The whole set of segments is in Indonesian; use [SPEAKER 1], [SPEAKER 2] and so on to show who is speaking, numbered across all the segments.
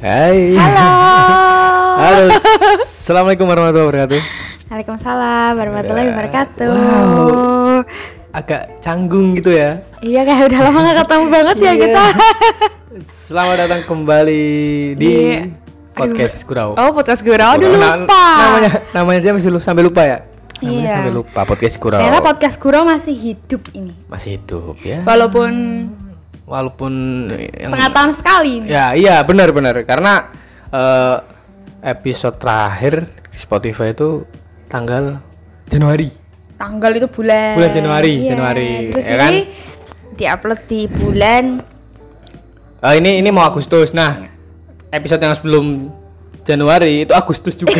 [SPEAKER 1] Hai.
[SPEAKER 2] Halo.
[SPEAKER 1] Halo. Assalamualaikum warahmatullahi wabarakatuh.
[SPEAKER 2] Waalaikumsalam warahmatullahi
[SPEAKER 1] Ya.
[SPEAKER 2] wabarakatuh.
[SPEAKER 1] Wow. Agak canggung gitu ya.
[SPEAKER 2] Iya kayak udah lama gak ketemu banget ya
[SPEAKER 1] Iya.
[SPEAKER 2] kita.
[SPEAKER 1] Selamat datang kembali di
[SPEAKER 2] Iya.
[SPEAKER 1] podcast Kurau.
[SPEAKER 2] Oh, podcast Gurau dulu
[SPEAKER 1] Na-
[SPEAKER 2] lupa.
[SPEAKER 1] Namanya namanya aja masih lu- sampai lupa ya. Namanya
[SPEAKER 2] Iya.
[SPEAKER 1] sampai lupa podcast Kurau.
[SPEAKER 2] Ternyata podcast Gurau masih hidup ini.
[SPEAKER 1] Masih hidup ya.
[SPEAKER 2] Walaupun
[SPEAKER 1] Walaupun yang-
[SPEAKER 2] setengah tahun sekali ini.
[SPEAKER 1] Ya, Hmm. iya benar-benar karena eh, episode terakhir di Spotify itu tanggal Januari.
[SPEAKER 2] Tanggal itu bulan
[SPEAKER 1] Bulan Januari,
[SPEAKER 2] Iya,
[SPEAKER 1] Januari,
[SPEAKER 2] Terus
[SPEAKER 1] ya kan?
[SPEAKER 2] ini diupload di bulan
[SPEAKER 1] Eh, ini ini mau Agustus. Nah, episode yang sebelum Januari itu Agustus juga.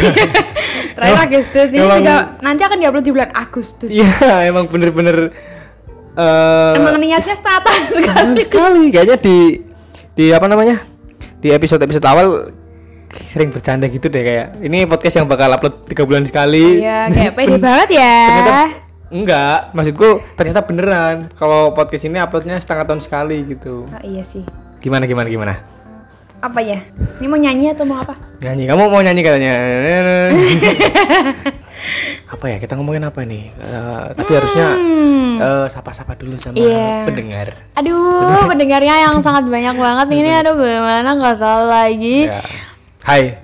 [SPEAKER 2] terakhir
[SPEAKER 1] Emang-
[SPEAKER 2] Agustus ini
[SPEAKER 1] emang-
[SPEAKER 2] juga nanti akan diupload di bulan Agustus.
[SPEAKER 1] Oh, Iya, emang bener-bener eh
[SPEAKER 2] Emang niatnya setengah
[SPEAKER 1] Iya,
[SPEAKER 2] tahun
[SPEAKER 1] bener
[SPEAKER 2] sekali.
[SPEAKER 1] sekali kayaknya di di apa namanya? Di episode-episode awal sering bercanda gitu deh kayak ini podcast yang bakal upload tiga bulan sekali.
[SPEAKER 2] Iya, kayak pede banget ya.
[SPEAKER 1] Ternyata- enggak, maksudku ternyata beneran kalau podcast ini uploadnya setengah tahun sekali gitu.
[SPEAKER 2] Oh, iya sih.
[SPEAKER 1] Gimana gimana gimana?
[SPEAKER 2] apa ya? Ini mau nyanyi atau mau apa?
[SPEAKER 1] Nyanyi, kamu mau nyanyi katanya. apa ya? Kita ngomongin apa nih? Eh, tapi harusnya
[SPEAKER 2] Hmm.
[SPEAKER 1] eh, sapa-sapa dulu sama
[SPEAKER 2] Iya.
[SPEAKER 1] pendengar.
[SPEAKER 2] Aduh, pendengarnya yang sangat banyak banget ini. Aduh, gimana nggak tahu lagi.
[SPEAKER 1] Ya. Hai.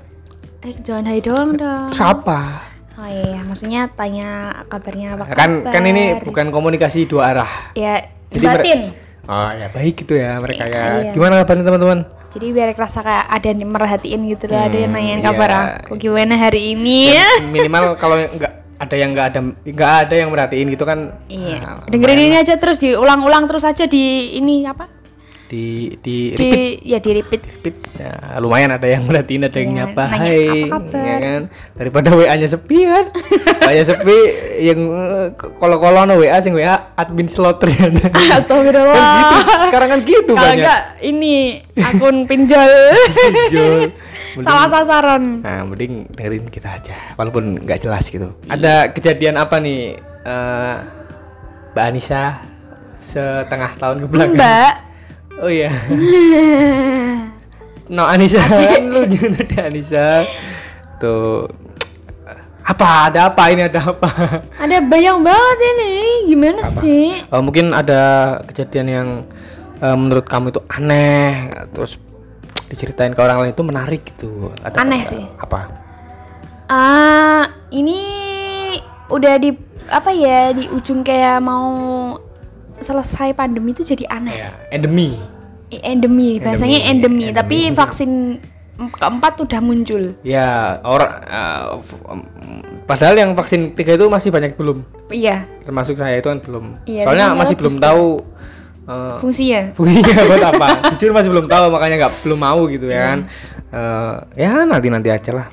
[SPEAKER 2] Eh, jangan hai doang dong.
[SPEAKER 1] Sapa?
[SPEAKER 2] Oh iya, maksudnya tanya kabarnya apa
[SPEAKER 1] Kan
[SPEAKER 2] kabar.
[SPEAKER 1] kan ini bukan komunikasi dua arah.
[SPEAKER 2] ya
[SPEAKER 1] Jadi
[SPEAKER 2] batin.
[SPEAKER 1] Oh ya baik gitu ya mereka ya.
[SPEAKER 2] Iya.
[SPEAKER 1] Gimana kabarnya teman-teman?
[SPEAKER 2] Jadi biar kerasa kayak ada yang merhatiin gitu loh, ada yang
[SPEAKER 1] Hmm,
[SPEAKER 2] nanyain
[SPEAKER 1] iya.
[SPEAKER 2] kabar aku gimana hari ini ya.
[SPEAKER 1] Minimal kalau nggak ada yang nggak ada nggak ada yang merhatiin gitu kan. ah,
[SPEAKER 2] Iya. Dengerin ini aja terus diulang-ulang terus aja di ini apa?
[SPEAKER 1] di di repeat
[SPEAKER 2] Di ya di repeat.
[SPEAKER 1] repeat. Ya, lumayan ada yang merhatiin ada yang
[SPEAKER 2] Iya,
[SPEAKER 1] nyapa
[SPEAKER 2] nanya,
[SPEAKER 1] hai
[SPEAKER 2] "Apa kabar?"
[SPEAKER 1] ya kan daripada WA nya sepi kan WA nya sepi yang eh, kalau kalau WA sing WA admin slot ternyata Kan gitu
[SPEAKER 2] Astagfirullah.
[SPEAKER 1] sekarang kan gitu
[SPEAKER 2] Kalau
[SPEAKER 1] banyak
[SPEAKER 2] enggak ini akun pinjol.
[SPEAKER 1] Pinjol. Mending-
[SPEAKER 2] Salah sasaran.
[SPEAKER 1] nah mending dengerin kita aja walaupun nggak jelas gitu ada kejadian apa nih eh, Mbak Anissa setengah tahun ke belakang
[SPEAKER 2] Mbak.
[SPEAKER 1] oh iya No Anissa lu juga ada Anissa tuh apa ada apa ini ada apa
[SPEAKER 2] Ada banyak banget ini. Gimana sih?
[SPEAKER 1] Eh, mungkin ada kejadian yang eh, menurut kamu itu aneh terus diceritain ke orang lain itu menarik gitu ada
[SPEAKER 2] Aneh
[SPEAKER 1] apa,
[SPEAKER 2] sih.
[SPEAKER 1] apa
[SPEAKER 2] Ah, ini udah di apa ya di ujung kayak mau selesai pandemi itu jadi aneh.
[SPEAKER 1] ya endemi
[SPEAKER 2] Eh, Endemi, bahasanya
[SPEAKER 1] Endemi,
[SPEAKER 2] endemi, tapi
[SPEAKER 1] iya, endemi.
[SPEAKER 2] vaksin keempat udah muncul.
[SPEAKER 1] ya orang eh, f- em, padahal yang vaksin tiga itu masih banyak belum
[SPEAKER 2] Iya,
[SPEAKER 1] termasuk saya itu kan belum
[SPEAKER 2] Iya,
[SPEAKER 1] soalnya
[SPEAKER 2] tapi
[SPEAKER 1] masih
[SPEAKER 2] malah
[SPEAKER 1] belum
[SPEAKER 2] booster.
[SPEAKER 1] tahu eh,
[SPEAKER 2] fungsinya.
[SPEAKER 1] fungsinya buat apa jujur masih belum tahu makanya nggak belum mau gitu
[SPEAKER 2] Iya.
[SPEAKER 1] ya kan Eh, ya nanti nanti aja lah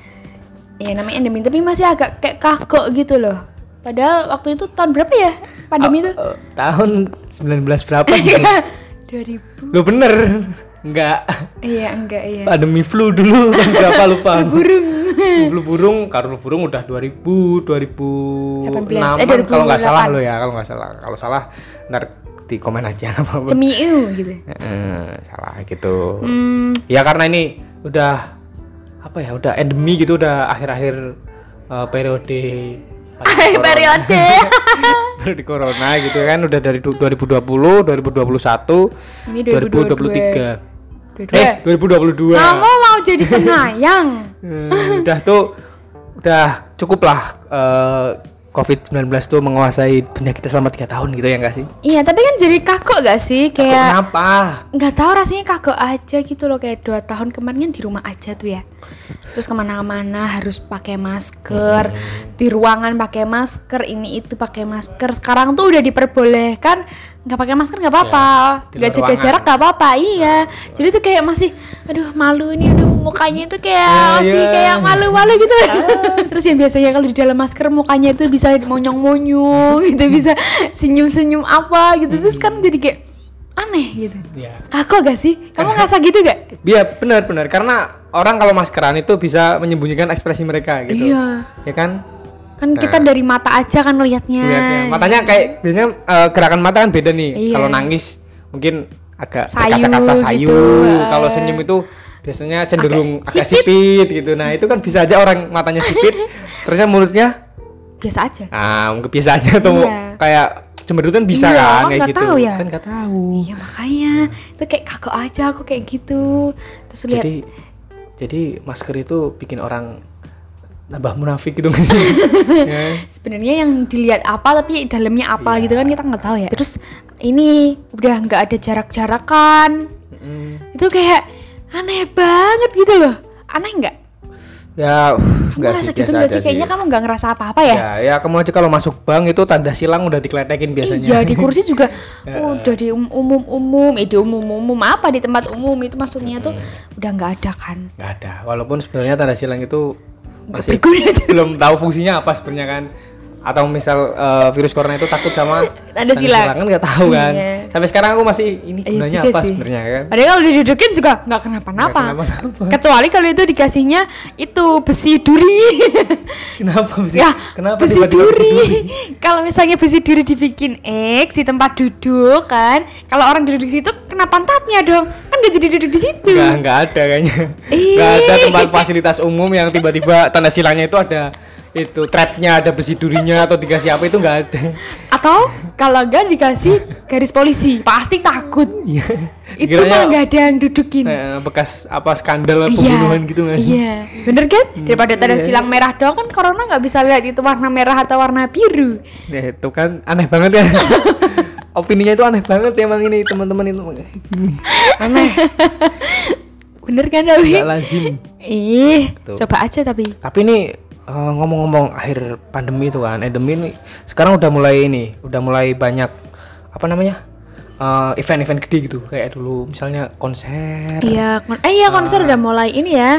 [SPEAKER 2] Ya namanya endemi, tapi masih agak kayak kagok gitu loh. Padahal waktu itu tahun berapa ya pandemi itu? Iya.
[SPEAKER 1] Eh, tahun 19 berapa gitu
[SPEAKER 2] 2000
[SPEAKER 1] lu bener enggak
[SPEAKER 2] Iya enggak iya
[SPEAKER 1] pandemi flu dulu kan berapa lupa
[SPEAKER 2] Burung
[SPEAKER 1] flu burung kalau flu burung udah 2000 2006
[SPEAKER 2] Eh, 2008.
[SPEAKER 1] kalau nggak salah lo ya kalau nggak salah kalau salah ntar di komen aja apa apa
[SPEAKER 2] Cemiu gitu
[SPEAKER 1] salah gitu
[SPEAKER 2] Hmm
[SPEAKER 1] ya karena ini udah apa ya udah endemi gitu udah akhir-akhir eh, periode
[SPEAKER 2] Akhir periode
[SPEAKER 1] periode corona gitu kan udah dari du- 2020 2021
[SPEAKER 2] Ini 2022
[SPEAKER 1] 2023 eh 2022
[SPEAKER 2] Kamu mau jadi cenayang
[SPEAKER 1] Hmm, udah tuh udah cukup lah eh, COVID-19 tuh menguasai dunia kita selama tiga tahun gitu ya enggak sih?
[SPEAKER 2] Iya tapi kan jadi kagok gak sih Kayak
[SPEAKER 1] Kenapa?
[SPEAKER 2] nggak tahu rasanya kagok aja gitu loh Kayak dua tahun kemarin kan di rumah aja tuh ya Terus kemana-mana harus pakai masker
[SPEAKER 1] Hmm.
[SPEAKER 2] Di ruangan pakai masker Ini itu pakai masker Sekarang tuh udah diperbolehkan nggak pakai masker nggak apa-apa
[SPEAKER 1] Ya, di luar
[SPEAKER 2] nggak jaga
[SPEAKER 1] ruangan. Nah, gitu.
[SPEAKER 2] jarak nggak apa-apa iya jadi tuh kayak masih aduh malu ini aduh mukanya itu kayak
[SPEAKER 1] Iya, Ah.
[SPEAKER 2] masih
[SPEAKER 1] iya.
[SPEAKER 2] kayak malu-malu gitu terus yang biasanya kalau di dalam masker mukanya itu bisa monyong-monyong gitu bisa senyum-senyum apa gitu terus
[SPEAKER 1] Hmm.
[SPEAKER 2] kan jadi kayak aneh gitu
[SPEAKER 1] Ya.
[SPEAKER 2] kaku gak sih
[SPEAKER 1] Eh.
[SPEAKER 2] kamu ngerasa gitu gak
[SPEAKER 1] Iya benar-benar karena orang kalau maskeran itu bisa menyembunyikan ekspresi mereka gitu.
[SPEAKER 2] Iya.
[SPEAKER 1] Ya kan?
[SPEAKER 2] kan kita dari mata aja kan liatnya
[SPEAKER 1] Lihatnya. Matanya kayak biasanya eh, gerakan mata kan beda nih.
[SPEAKER 2] Iya.
[SPEAKER 1] Kalau nangis mungkin agak
[SPEAKER 2] Sayu
[SPEAKER 1] kaca-kaca sayu.
[SPEAKER 2] gitu, eh.
[SPEAKER 1] Kalau senyum itu biasanya cenderung
[SPEAKER 2] Agak
[SPEAKER 1] agak sipit gitu. Nah, itu kan bisa aja orang matanya sipit, terusnya mulutnya
[SPEAKER 2] biasa aja
[SPEAKER 1] ah, mungkin bisa aja tuh
[SPEAKER 2] Iya.
[SPEAKER 1] kayak cemberutan bisa kan
[SPEAKER 2] Iya, orang
[SPEAKER 1] kayak
[SPEAKER 2] nggak
[SPEAKER 1] gitu.
[SPEAKER 2] tahu ya.
[SPEAKER 1] Kan nggak tahu.
[SPEAKER 2] iya makanya itu kayak kagok aja aku kayak gitu terus lihat
[SPEAKER 1] Jadi jadi masker itu bikin orang tambah munafik gitu ya.
[SPEAKER 2] sebenarnya yang dilihat apa tapi dalamnya apa
[SPEAKER 1] Iya.
[SPEAKER 2] gitu kan kita nggak tahu ya terus ini udah nggak ada jarak-jarakan
[SPEAKER 1] Mm.
[SPEAKER 2] itu kayak aneh banget gitu loh aneh nggak
[SPEAKER 1] Ya,
[SPEAKER 2] kamu
[SPEAKER 1] enggak
[SPEAKER 2] ngerasa
[SPEAKER 1] sih
[SPEAKER 2] gitu
[SPEAKER 1] biasa
[SPEAKER 2] nggak
[SPEAKER 1] aja
[SPEAKER 2] sih kayaknya kamu nggak ngerasa apa-apa ya
[SPEAKER 1] Ya, ya kamu aja kalau masuk bank itu tanda silang udah dikletekin biasanya.
[SPEAKER 2] Iya di kursi juga
[SPEAKER 1] Ya.
[SPEAKER 2] udah di um- umum-umum, eh di umum-umum apa di tempat umum itu maksudnya tuh udah nggak ada kan?
[SPEAKER 1] Nggak ada. Walaupun sebenarnya tanda silang itu
[SPEAKER 2] Nggak
[SPEAKER 1] masih
[SPEAKER 2] berguna tuh.
[SPEAKER 1] belum tahu fungsinya apa sebenarnya kan. Atau misal eh, virus corona itu takut sama
[SPEAKER 2] Tanda silang.
[SPEAKER 1] kan nggak tahu kan.
[SPEAKER 2] Iya.
[SPEAKER 1] Sampai sekarang aku masih ini
[SPEAKER 2] Iya
[SPEAKER 1] gunanya
[SPEAKER 2] juga
[SPEAKER 1] apa
[SPEAKER 2] sih.
[SPEAKER 1] sebenarnya kan.
[SPEAKER 2] Padahal kalau didudukin juga nggak kenapa-napa.
[SPEAKER 1] Nggak kenapa-napa.
[SPEAKER 2] Kecuali kalau itu dikasihnya itu besi duri.
[SPEAKER 1] Kenapa sih?
[SPEAKER 2] ya,
[SPEAKER 1] Kenapa
[SPEAKER 2] besi
[SPEAKER 1] tiba-tiba
[SPEAKER 2] duri.
[SPEAKER 1] besi
[SPEAKER 2] kalau misalnya besi duri dibikin X di tempat duduk kan, kalau orang duduk di situ kena pantatnya dong. Kan nggak jadi duduk di situ.
[SPEAKER 1] Nggak, nggak ada kayaknya.
[SPEAKER 2] Ih.
[SPEAKER 1] Nggak ada tempat fasilitas umum yang tiba-tiba tanda silangnya itu ada itu trapnya ada besi durinya atau dikasih apa itu nggak ada.
[SPEAKER 2] Atau kalau nggak dikasih garis polisi, pasti takut.
[SPEAKER 1] Iya.
[SPEAKER 2] itu malah nggak ada yang dudukin
[SPEAKER 1] eh, bekas apa skandal pembunuhan gitu kan.
[SPEAKER 2] iya bener kan daripada tanda
[SPEAKER 1] iya.
[SPEAKER 2] silang merah doang kan corona nggak bisa lihat itu warna merah atau warna biru
[SPEAKER 1] Ya, itu kan aneh banget ya. Opininya itu aneh banget emang ini teman-teman itu. Aneh.
[SPEAKER 2] bener kan tapi
[SPEAKER 1] Enggak Gitu. lazim.
[SPEAKER 2] ih
[SPEAKER 1] Tuh.
[SPEAKER 2] coba aja tapi
[SPEAKER 1] Tapi ini eh, ngomong-ngomong akhir pandemi itu kan, endemi ini sekarang udah mulai ini, udah mulai banyak apa namanya? eh, event-event gede gitu kayak dulu misalnya konser
[SPEAKER 2] iya kon- eh iya konser
[SPEAKER 1] Ah.
[SPEAKER 2] udah mulai ini ya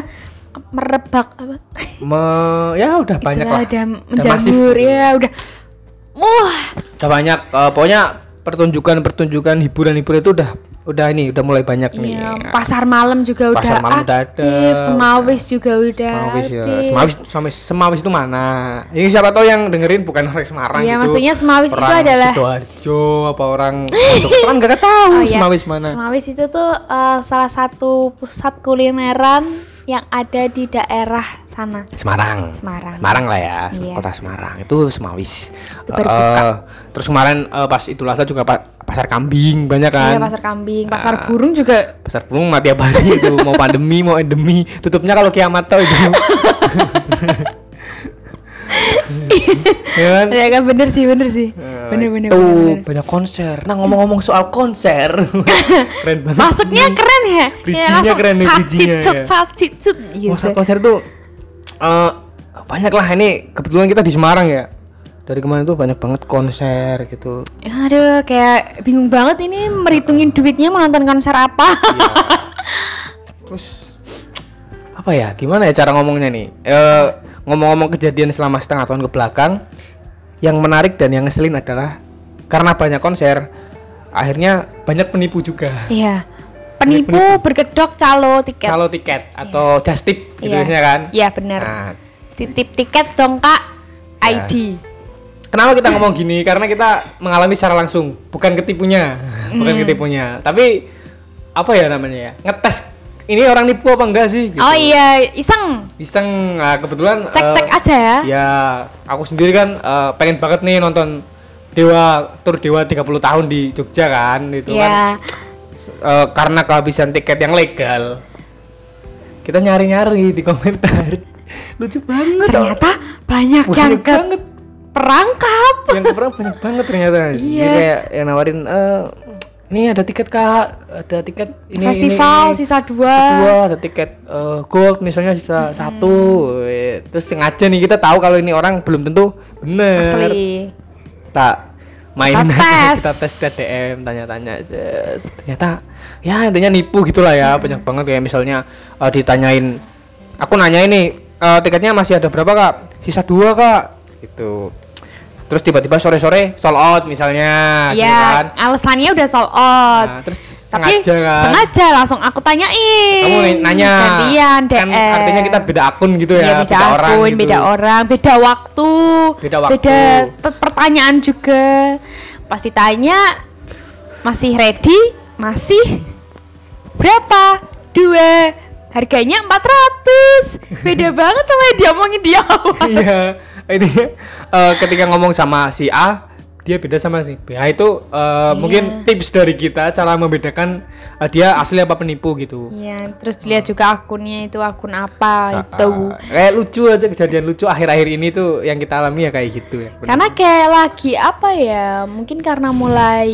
[SPEAKER 2] merebak apa
[SPEAKER 1] me- ya udah banyak
[SPEAKER 2] Itulah,
[SPEAKER 1] lah
[SPEAKER 2] udah
[SPEAKER 1] Udah masif.
[SPEAKER 2] menjamur ya udah wah
[SPEAKER 1] Udah banyak eh, pokoknya pertunjukan-pertunjukan hiburan-hiburan itu udah udah ini udah mulai banyak nih
[SPEAKER 2] iya, pasar malam juga
[SPEAKER 1] Pasar
[SPEAKER 2] udah
[SPEAKER 1] malam udah ada,
[SPEAKER 2] aktif semawis juga udah
[SPEAKER 1] Semawis ya.
[SPEAKER 2] aktif.
[SPEAKER 1] Semawis, semawis, semawis itu mana? Ini siapa tahu yang dengerin bukan orang Semarang gitu.
[SPEAKER 2] Iya, maksudnya Semawis itu
[SPEAKER 1] Orang
[SPEAKER 2] adalah-
[SPEAKER 1] Sidoarjo gitu apa orang Pondok- kan gak tahu
[SPEAKER 2] Oh, iya.
[SPEAKER 1] Semawis mana.
[SPEAKER 2] Semawis itu tuh eh, salah satu pusat kulineran yang ada di daerah sana,
[SPEAKER 1] Semarang.
[SPEAKER 2] Semarang.
[SPEAKER 1] Semarang lah ya,
[SPEAKER 2] Iya.
[SPEAKER 1] kota Semarang itu Semawis.
[SPEAKER 2] Itu baru buka.
[SPEAKER 1] Eh, terus kemarin eh, pas Idul Adha juga pa- pasar kambing banyak kan.
[SPEAKER 2] Iya, pasar kambing, pasar
[SPEAKER 1] Ah.
[SPEAKER 2] burung juga.
[SPEAKER 1] pasar burung mati tiap hari itu mau pandemi mau endemi tutupnya kalau kiamat tau itu ya kan?
[SPEAKER 2] Ya kan bener sih, bener sih.
[SPEAKER 1] Eh,
[SPEAKER 2] Bener bener.
[SPEAKER 1] itu
[SPEAKER 2] bener, bener.
[SPEAKER 1] banyak konser. Nah ngomong-ngomong soal konser, keren banget.
[SPEAKER 2] Masuknya keren ya.
[SPEAKER 1] Bridging-nya
[SPEAKER 2] langsung
[SPEAKER 1] keren nih,
[SPEAKER 2] cacit,
[SPEAKER 1] bridging-nya,
[SPEAKER 2] cut,
[SPEAKER 1] ya. Oh,
[SPEAKER 2] cacit, cut, gitu.
[SPEAKER 1] Masa konser tuh eh, banyak lah ini kebetulan kita di Semarang ya. Dari kemarin tuh banyak banget konser gitu.
[SPEAKER 2] Aduh, kayak bingung banget ini merhitungin duitnya mau nonton konser apa.
[SPEAKER 1] Terus apa ya? Gimana ya cara ngomongnya nih? Eh, ngomong-ngomong kejadian selama setengah tahun ke belakang, yang menarik dan yang ngeselin adalah karena banyak konser, akhirnya banyak penipu juga.
[SPEAKER 2] Iya. Penipu
[SPEAKER 1] Iya,
[SPEAKER 2] berkedok calo tiket.
[SPEAKER 1] Kalau tiket atau just tip gitu
[SPEAKER 2] Iya.
[SPEAKER 1] biasanya kan.
[SPEAKER 2] Iya, bener.
[SPEAKER 1] Nah,
[SPEAKER 2] Titip tiket dong, Kak.
[SPEAKER 1] Ya.
[SPEAKER 2] ID.
[SPEAKER 1] Kenapa kita ngomong gini? Karena kita mengalami secara langsung, bukan ketipunya, bukan ketipunya. Tapi apa ya namanya ya? Ngetes ini orang nipu apa enggak sih? gitu.
[SPEAKER 2] Oh iya, iseng.
[SPEAKER 1] Iseng nah, kebetulan
[SPEAKER 2] Cek-cek
[SPEAKER 1] eh,
[SPEAKER 2] aja ya.
[SPEAKER 1] Ya, aku sendiri kan eh, pengen banget nih nonton Dewa tur Dewa 30 tahun di Jogja kan itu
[SPEAKER 2] Iya.
[SPEAKER 1] kan Eh, karena kehabisan tiket yang legal. Kita nyari-nyari di komentar. Lucu banget.
[SPEAKER 2] Ternyata banyak
[SPEAKER 1] Banyak
[SPEAKER 2] yang ke
[SPEAKER 1] banget.
[SPEAKER 2] perangkap.
[SPEAKER 1] yang keberang banyak banget ternyata
[SPEAKER 2] Iya.
[SPEAKER 1] Jadi kayak yang nawarin eh ini ada tiket kak ada tiket ini ini,
[SPEAKER 2] Festival
[SPEAKER 1] ini,
[SPEAKER 2] sisa dua.
[SPEAKER 1] dua ada tiket eh, gold misalnya sisa satu
[SPEAKER 2] Hmm.
[SPEAKER 1] Eh, terus sengaja nih kita tahu kalau ini orang belum tentu bener
[SPEAKER 2] Asli.
[SPEAKER 1] tak main
[SPEAKER 2] Kita tes.
[SPEAKER 1] kita tes ke DM tanya-tanya aja ternyata ya intinya nipu gitulah
[SPEAKER 2] Hmm.
[SPEAKER 1] ya banyak banget kayak misalnya eh, ditanyain aku nanya ini eh, tiketnya masih ada berapa kak sisa dua kak gitu terus tiba-tiba sore-sore sold out misalnya gitu kan.
[SPEAKER 2] Ya, alasannya udah sold out.
[SPEAKER 1] Nah, terus
[SPEAKER 2] Tapi
[SPEAKER 1] sengaja kan
[SPEAKER 2] sengaja langsung aku tanyain.
[SPEAKER 1] kamu na- nanya
[SPEAKER 2] Gantian
[SPEAKER 1] kan
[SPEAKER 2] DM.
[SPEAKER 1] artinya kita beda akun gitu ya
[SPEAKER 2] Iya, beda, akun,
[SPEAKER 1] gitu.
[SPEAKER 2] beda orang, beda waktu,
[SPEAKER 1] Beda waktu.
[SPEAKER 2] beda pe- pertanyaan juga. Pasti tanya, masih ready, masih berapa, dua, harganya 400 beda banget sama yang dia omongin di awal
[SPEAKER 1] iya ini eh, ketika ngomong sama si A dia beda sama si B Nah, itu eh,
[SPEAKER 2] Iya.
[SPEAKER 1] mungkin tips dari kita cara membedakan eh, dia asli apa penipu gitu
[SPEAKER 2] iya terus dilihat juga akunnya itu akun apa Iya, itu
[SPEAKER 1] Ah, kayak lucu aja kejadian lucu akhir-akhir ini tuh yang kita alami ya kayak gitu ya bener.
[SPEAKER 2] Karena kayak lagi apa ya? Mungkin karena mulai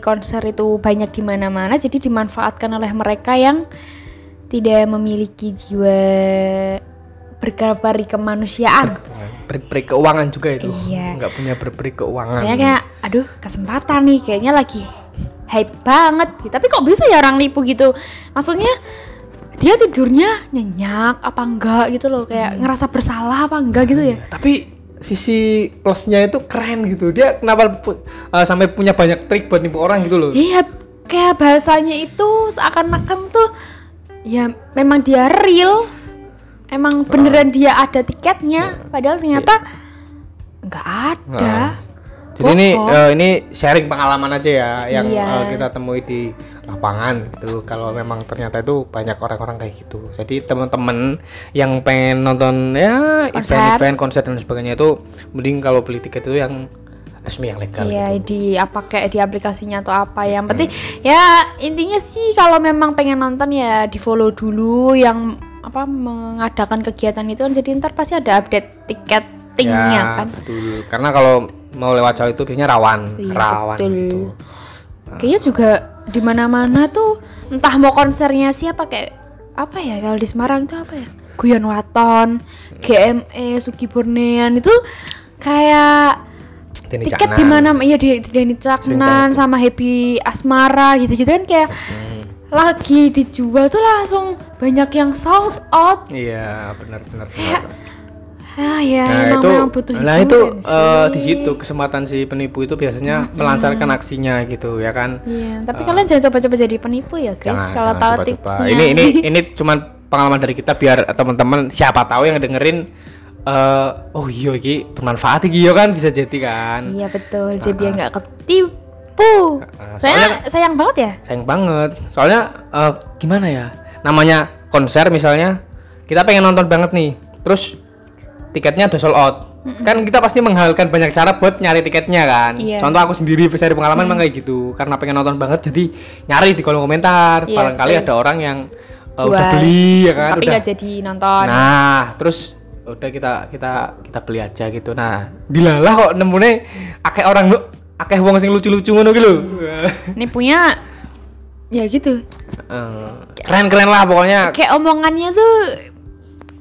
[SPEAKER 2] konser itu banyak di mana-mana, jadi dimanfaatkan oleh mereka yang tidak memiliki jiwa berkabari kemanusiaan.
[SPEAKER 1] berperi keuangan juga itu
[SPEAKER 2] Iya.
[SPEAKER 1] nggak punya berperi keuangan
[SPEAKER 2] Saya kayak, aduh kesempatan nih, kayaknya lagi hype banget. Tapi kok bisa ya orang nipu gitu? Maksudnya dia tidurnya nyenyak apa enggak gitu loh? Kayak ngerasa bersalah apa enggak gitu ya?
[SPEAKER 1] tapi sisi plusnya itu keren gitu dia kenapa pu- eh, sampai punya banyak trik buat nipu orang gitu loh
[SPEAKER 2] Iya, kayak bahasanya itu seakan-akan tuh ya memang dia real.
[SPEAKER 1] Ah.
[SPEAKER 2] Emang beneran dia ada tiketnya,
[SPEAKER 1] Ya.
[SPEAKER 2] padahal ternyata nggak
[SPEAKER 1] Nah.
[SPEAKER 2] ada.
[SPEAKER 1] Jadi ini
[SPEAKER 2] Bohong.
[SPEAKER 1] eh, ini sharing pengalaman aja ya yang
[SPEAKER 2] Oh, Iya.
[SPEAKER 1] eh, kita temui di lapangan gitu. Kalau memang ternyata itu banyak orang-orang kayak gitu. Jadi teman-teman yang pengen nonton ya
[SPEAKER 2] Konser.
[SPEAKER 1] event-event konser dan sebagainya itu mending kalau beli tiket itu yang resmi yang legal gitu.
[SPEAKER 2] Iya,
[SPEAKER 1] Hmm.
[SPEAKER 2] di apa kayak di aplikasinya atau apa yang penting ya intinya sih kalau memang pengen nonton ya di follow dulu yang apa mengadakan kegiatan itu kan jadi ntar pasti ada update tiketingnya
[SPEAKER 1] Ya,
[SPEAKER 2] kan.
[SPEAKER 1] betul. Karena kalau mau lewat jalan itu biasanya rawan,
[SPEAKER 2] Iya,
[SPEAKER 1] rawan
[SPEAKER 2] betul.
[SPEAKER 1] gitu.
[SPEAKER 2] Kayaknya juga di mana-mana tuh entah mau konsernya siapa kayak apa ya kalau di Semarang tuh apa ya? Guyon Waton, GME, Sugi Bornean itu kayak
[SPEAKER 1] Deni
[SPEAKER 2] tiket
[SPEAKER 1] Caknan.
[SPEAKER 2] di mana iya di di Deni
[SPEAKER 1] Sering banget
[SPEAKER 2] Caknan
[SPEAKER 1] tuh.
[SPEAKER 2] sama Happy Asmara gitu-gitu kan kayak
[SPEAKER 1] Hmm.
[SPEAKER 2] lagi dijual tuh langsung banyak yang sold out.
[SPEAKER 1] Iya, benar-benar.
[SPEAKER 2] Kayak
[SPEAKER 1] benar.
[SPEAKER 2] ah ya
[SPEAKER 1] nah
[SPEAKER 2] emang
[SPEAKER 1] itu
[SPEAKER 2] memang butuh
[SPEAKER 1] nah itu
[SPEAKER 2] hiburan ya,
[SPEAKER 1] eh,
[SPEAKER 2] sih.
[SPEAKER 1] di situ kesempatan si penipu itu biasanya melancarkan aksinya gitu ya kan
[SPEAKER 2] Iya,
[SPEAKER 1] Eh.
[SPEAKER 2] tapi kalian jangan coba-coba jadi penipu ya, guys.
[SPEAKER 1] Jangan-
[SPEAKER 2] kalau
[SPEAKER 1] jangan
[SPEAKER 2] tahu
[SPEAKER 1] coba-coba.
[SPEAKER 2] tipsnya.
[SPEAKER 1] ini ini ini cuman pengalaman dari kita biar teman-teman siapa tahu yang dengerin eh oh iya iki bermanfaat iki ya kan bisa jadi kan
[SPEAKER 2] Iya betul, jadi biar nggak ketipu.
[SPEAKER 1] Ah,
[SPEAKER 2] Soalnya sayang banget ya.
[SPEAKER 1] sayang banget soalnya eh, gimana ya namanya konser misalnya kita pengen nonton banget nih terus tiketnya udah sold out kan kita pasti menghalalkan banyak cara buat nyari tiketnya kan
[SPEAKER 2] Iya.
[SPEAKER 1] contoh aku sendiri bisa dari pengalaman emang kayak gitu karena pengen nonton banget jadi nyari di kolom komentar
[SPEAKER 2] Iya,
[SPEAKER 1] barangkali
[SPEAKER 2] betul.
[SPEAKER 1] ada orang yang eh,
[SPEAKER 2] Jual.
[SPEAKER 1] udah beli ya kan
[SPEAKER 2] Tapi
[SPEAKER 1] udah
[SPEAKER 2] nggak jadi nonton.
[SPEAKER 1] nah terus udah kita kita kita beli aja gitu nah dilalah kok nemune akeh orang lu akeh wong sing lucu-lucu ngono gitu lho
[SPEAKER 2] Ini punya ya gitu.
[SPEAKER 1] Eh, keren-keren lah pokoknya
[SPEAKER 2] Kayak omongannya tuh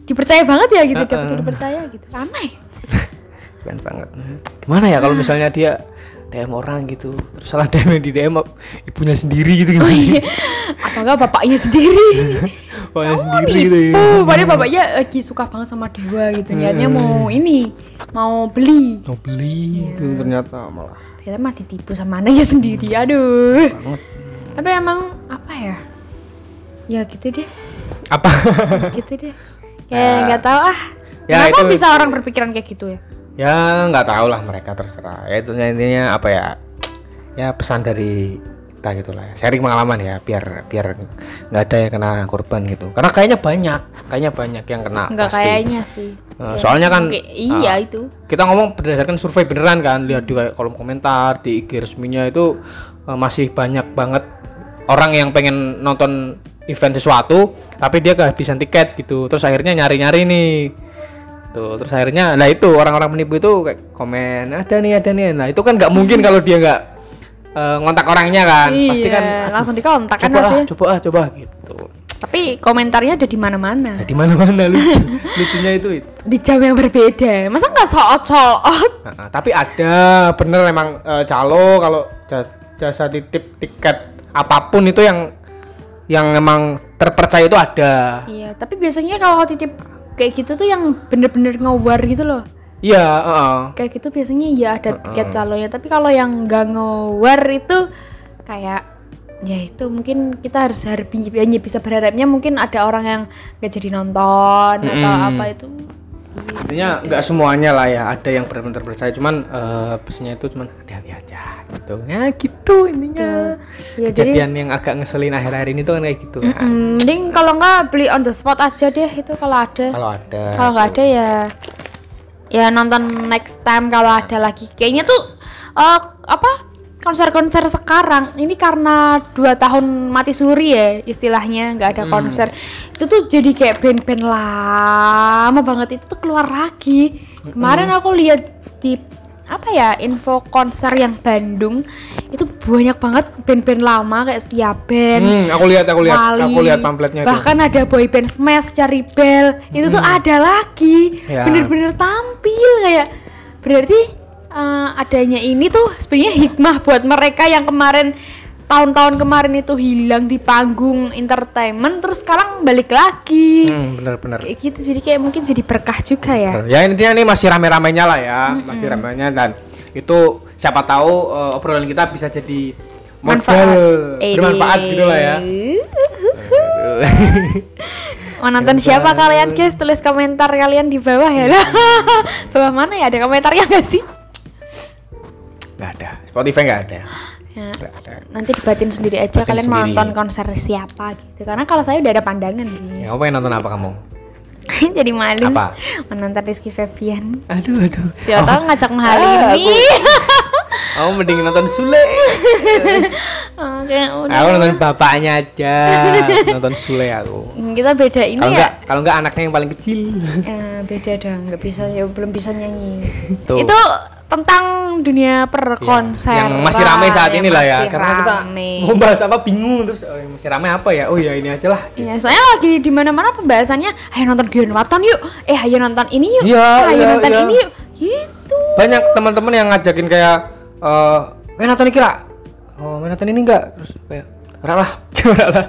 [SPEAKER 2] dipercaya banget ya gitu,
[SPEAKER 1] Heeh.
[SPEAKER 2] dapat dipercaya gitu. Aneh.
[SPEAKER 1] keren banget gimana ya kalau misalnya dia DM orang gitu terus salah DM yang di DM ap- ibunya sendiri gitu gitu
[SPEAKER 2] Atau enggak bapaknya sendiri.
[SPEAKER 1] Bapaknya
[SPEAKER 2] Kamu
[SPEAKER 1] sendiri gitu ya. Eh.
[SPEAKER 2] nipu. Padahal bapaknya lagi suka banget sama Dewa gitu. Niatnya mau ini, mau beli.
[SPEAKER 1] mau beli itu Iya. ternyata malah
[SPEAKER 2] Ternyata mah ditipu sama anaknya sendiri. Aduh.
[SPEAKER 1] banget
[SPEAKER 2] Tapi emang apa ya? Ya gitu deh.
[SPEAKER 1] apa
[SPEAKER 2] gitu deh kayak
[SPEAKER 1] Ya.
[SPEAKER 2] nggak tahu ah
[SPEAKER 1] Ya,
[SPEAKER 2] kenapa
[SPEAKER 1] itu-
[SPEAKER 2] bisa orang berpikiran kayak gitu ya
[SPEAKER 1] ya nggak tahu lah mereka terserah ya itu intinya apa ya ya pesan dari kita gitu lah ya. sharing pengalaman ya biar biar nggak ada yang kena korban gitu karena kayaknya banyak kayaknya banyak yang kena
[SPEAKER 2] nggak
[SPEAKER 1] Ah, pasti.
[SPEAKER 2] kayaknya sih
[SPEAKER 1] Eh, soalnya kan-
[SPEAKER 2] Oke,
[SPEAKER 1] ah.
[SPEAKER 2] iya itu
[SPEAKER 1] kita ngomong berdasarkan survei beneran kan lihat di kolom komentar di IG resminya itu eh, masih banyak banget orang yang pengen nonton event sesuatu tapi dia kehabisan tiket gitu terus akhirnya nyari-nyari nih tuh terus akhirnya nah itu orang-orang penipu itu kayak komen ada nih ada nih nah itu kan nggak mungkin kalau dia nggak eh, ngontak orangnya kan pasti kan
[SPEAKER 2] Iya,
[SPEAKER 1] "Aduh,
[SPEAKER 2] langsung dikontak kan
[SPEAKER 1] coba ah,
[SPEAKER 2] maksudnya
[SPEAKER 1] coba ah coba gitu
[SPEAKER 2] tapi komentarnya ada di mana-mana
[SPEAKER 1] nah, di mana-mana lucu lucunya itu itu
[SPEAKER 2] di jam yang berbeda masa nggak soot soot
[SPEAKER 1] Nah, tapi ada bener emang eh, calo kalau ja- jasa titip tiket apapun itu yang yang emang terpercaya itu ada.
[SPEAKER 2] iya tapi biasanya kalau titip kayak gitu tuh yang bener-bener ngewar gitu loh
[SPEAKER 1] Iya, heeh.
[SPEAKER 2] kayak gitu biasanya ya ada tiket calonnya tapi kalau yang nggak ngewar itu kayak ya itu mungkin kita harus harapin hanya bisa berharapnya mungkin ada orang yang nggak jadi nonton atau
[SPEAKER 1] Mm-mm.
[SPEAKER 2] apa itu
[SPEAKER 1] Intinya nggak semuanya lah ya, ada yang benar-benar percaya. Cuman eh, pesannya itu cuman hati-hati aja gitu. Ya gitu intinya.
[SPEAKER 2] Ya, jadi-
[SPEAKER 1] Kejadian yang agak ngeselin akhir-akhir ini tuh kan kayak gitu. kan.
[SPEAKER 2] Mm-mm, mending kalau nggak beli on the spot aja deh itu kalau ada
[SPEAKER 1] Kalau ada.
[SPEAKER 2] kalau nggak ada ya ya nonton next time kalau ada lagi kayaknya tuh eh, apa konser-konser sekarang ini karena dua tahun mati suri ya istilahnya nggak ada
[SPEAKER 1] Hmm.
[SPEAKER 2] konser itu tuh jadi kayak band-band lama banget itu tuh keluar lagi kemarin aku lihat di apa ya info konser yang Bandung itu banyak banget band-band lama kayak setiap band
[SPEAKER 1] Hmm, aku lihat, aku lihat,
[SPEAKER 2] Wali.
[SPEAKER 1] aku lihat pamfletnya itu. Hmm.
[SPEAKER 2] bahkan ada boyband smash cari bel itu tuh ada lagi
[SPEAKER 1] Ya.
[SPEAKER 2] bener-bener tampil kayak berarti eh, adanya ini tuh sebenarnya hikmah buat mereka yang kemarin tahun-tahun kemarin itu hilang di panggung entertainment terus sekarang balik lagi
[SPEAKER 1] Hmm, benar-benar.
[SPEAKER 2] kayak gitu jadi kayak mungkin jadi berkah juga ya
[SPEAKER 1] Ya intinya ini masih rame-ramenya lah ya, masih ramenya dan itu siapa tahu eh, obrolan kita bisa jadi modal
[SPEAKER 2] Eh,
[SPEAKER 1] bermanfaat gitu lah ya.
[SPEAKER 2] Mau nonton siapa kalian guys? Tulis komentar kalian di bawah ya. Lah,
[SPEAKER 1] Hmm.
[SPEAKER 2] bawah mana ya? Ada komentarnya nggak sih?
[SPEAKER 1] Gak ada, Spotify gak ada.
[SPEAKER 2] Ya,
[SPEAKER 1] Nggak ada.
[SPEAKER 2] nanti debatin sendiri aja
[SPEAKER 1] Debatin
[SPEAKER 2] kalian mau
[SPEAKER 1] sendiri.
[SPEAKER 2] nonton konser siapa gitu. Karena kalau saya udah ada
[SPEAKER 1] Ya,
[SPEAKER 2] pandangan gitu.
[SPEAKER 1] kamu pengen nonton apa kamu?
[SPEAKER 2] Jadi malu
[SPEAKER 1] Apa?
[SPEAKER 2] menonton Rizky Febian.
[SPEAKER 1] Aduh, aduh.
[SPEAKER 2] Siapa tahu ngajak mahal
[SPEAKER 1] Ah,
[SPEAKER 2] ini.
[SPEAKER 1] Kamu mending nonton Sule.
[SPEAKER 2] Ah, kayak udah.
[SPEAKER 1] aku nonton bapaknya aja, nonton Sule aku.
[SPEAKER 2] Kita beda ini
[SPEAKER 1] Kalau
[SPEAKER 2] ya.
[SPEAKER 1] enggak, kalau enggak anaknya yang paling kecil.
[SPEAKER 2] Eh, beda dong, nggak bisa ya belum bisa nyanyi.
[SPEAKER 1] Tuh.
[SPEAKER 2] Itu tentang dunia
[SPEAKER 1] Iya,
[SPEAKER 2] perkonser.
[SPEAKER 1] yang masih ramai saat ini lah ya karena kita
[SPEAKER 2] ramai.
[SPEAKER 1] mau bahas apa bingung terus oh, yang masih ramai apa ya oh ya ini aja lah
[SPEAKER 2] Iya, soalnya lagi di mana-mana pembahasannya, ayo nonton Gion Waton yuk, eh ayo nonton ini yuk,
[SPEAKER 1] Iya,
[SPEAKER 2] eh, ayo
[SPEAKER 1] iya,
[SPEAKER 2] nonton
[SPEAKER 1] iya.
[SPEAKER 2] ini yuk, gitu.
[SPEAKER 1] banyak teman-teman yang ngajakin kayak eh main nonton ini kira oh main nonton ini enggak terus kayak "Ora lah ora lah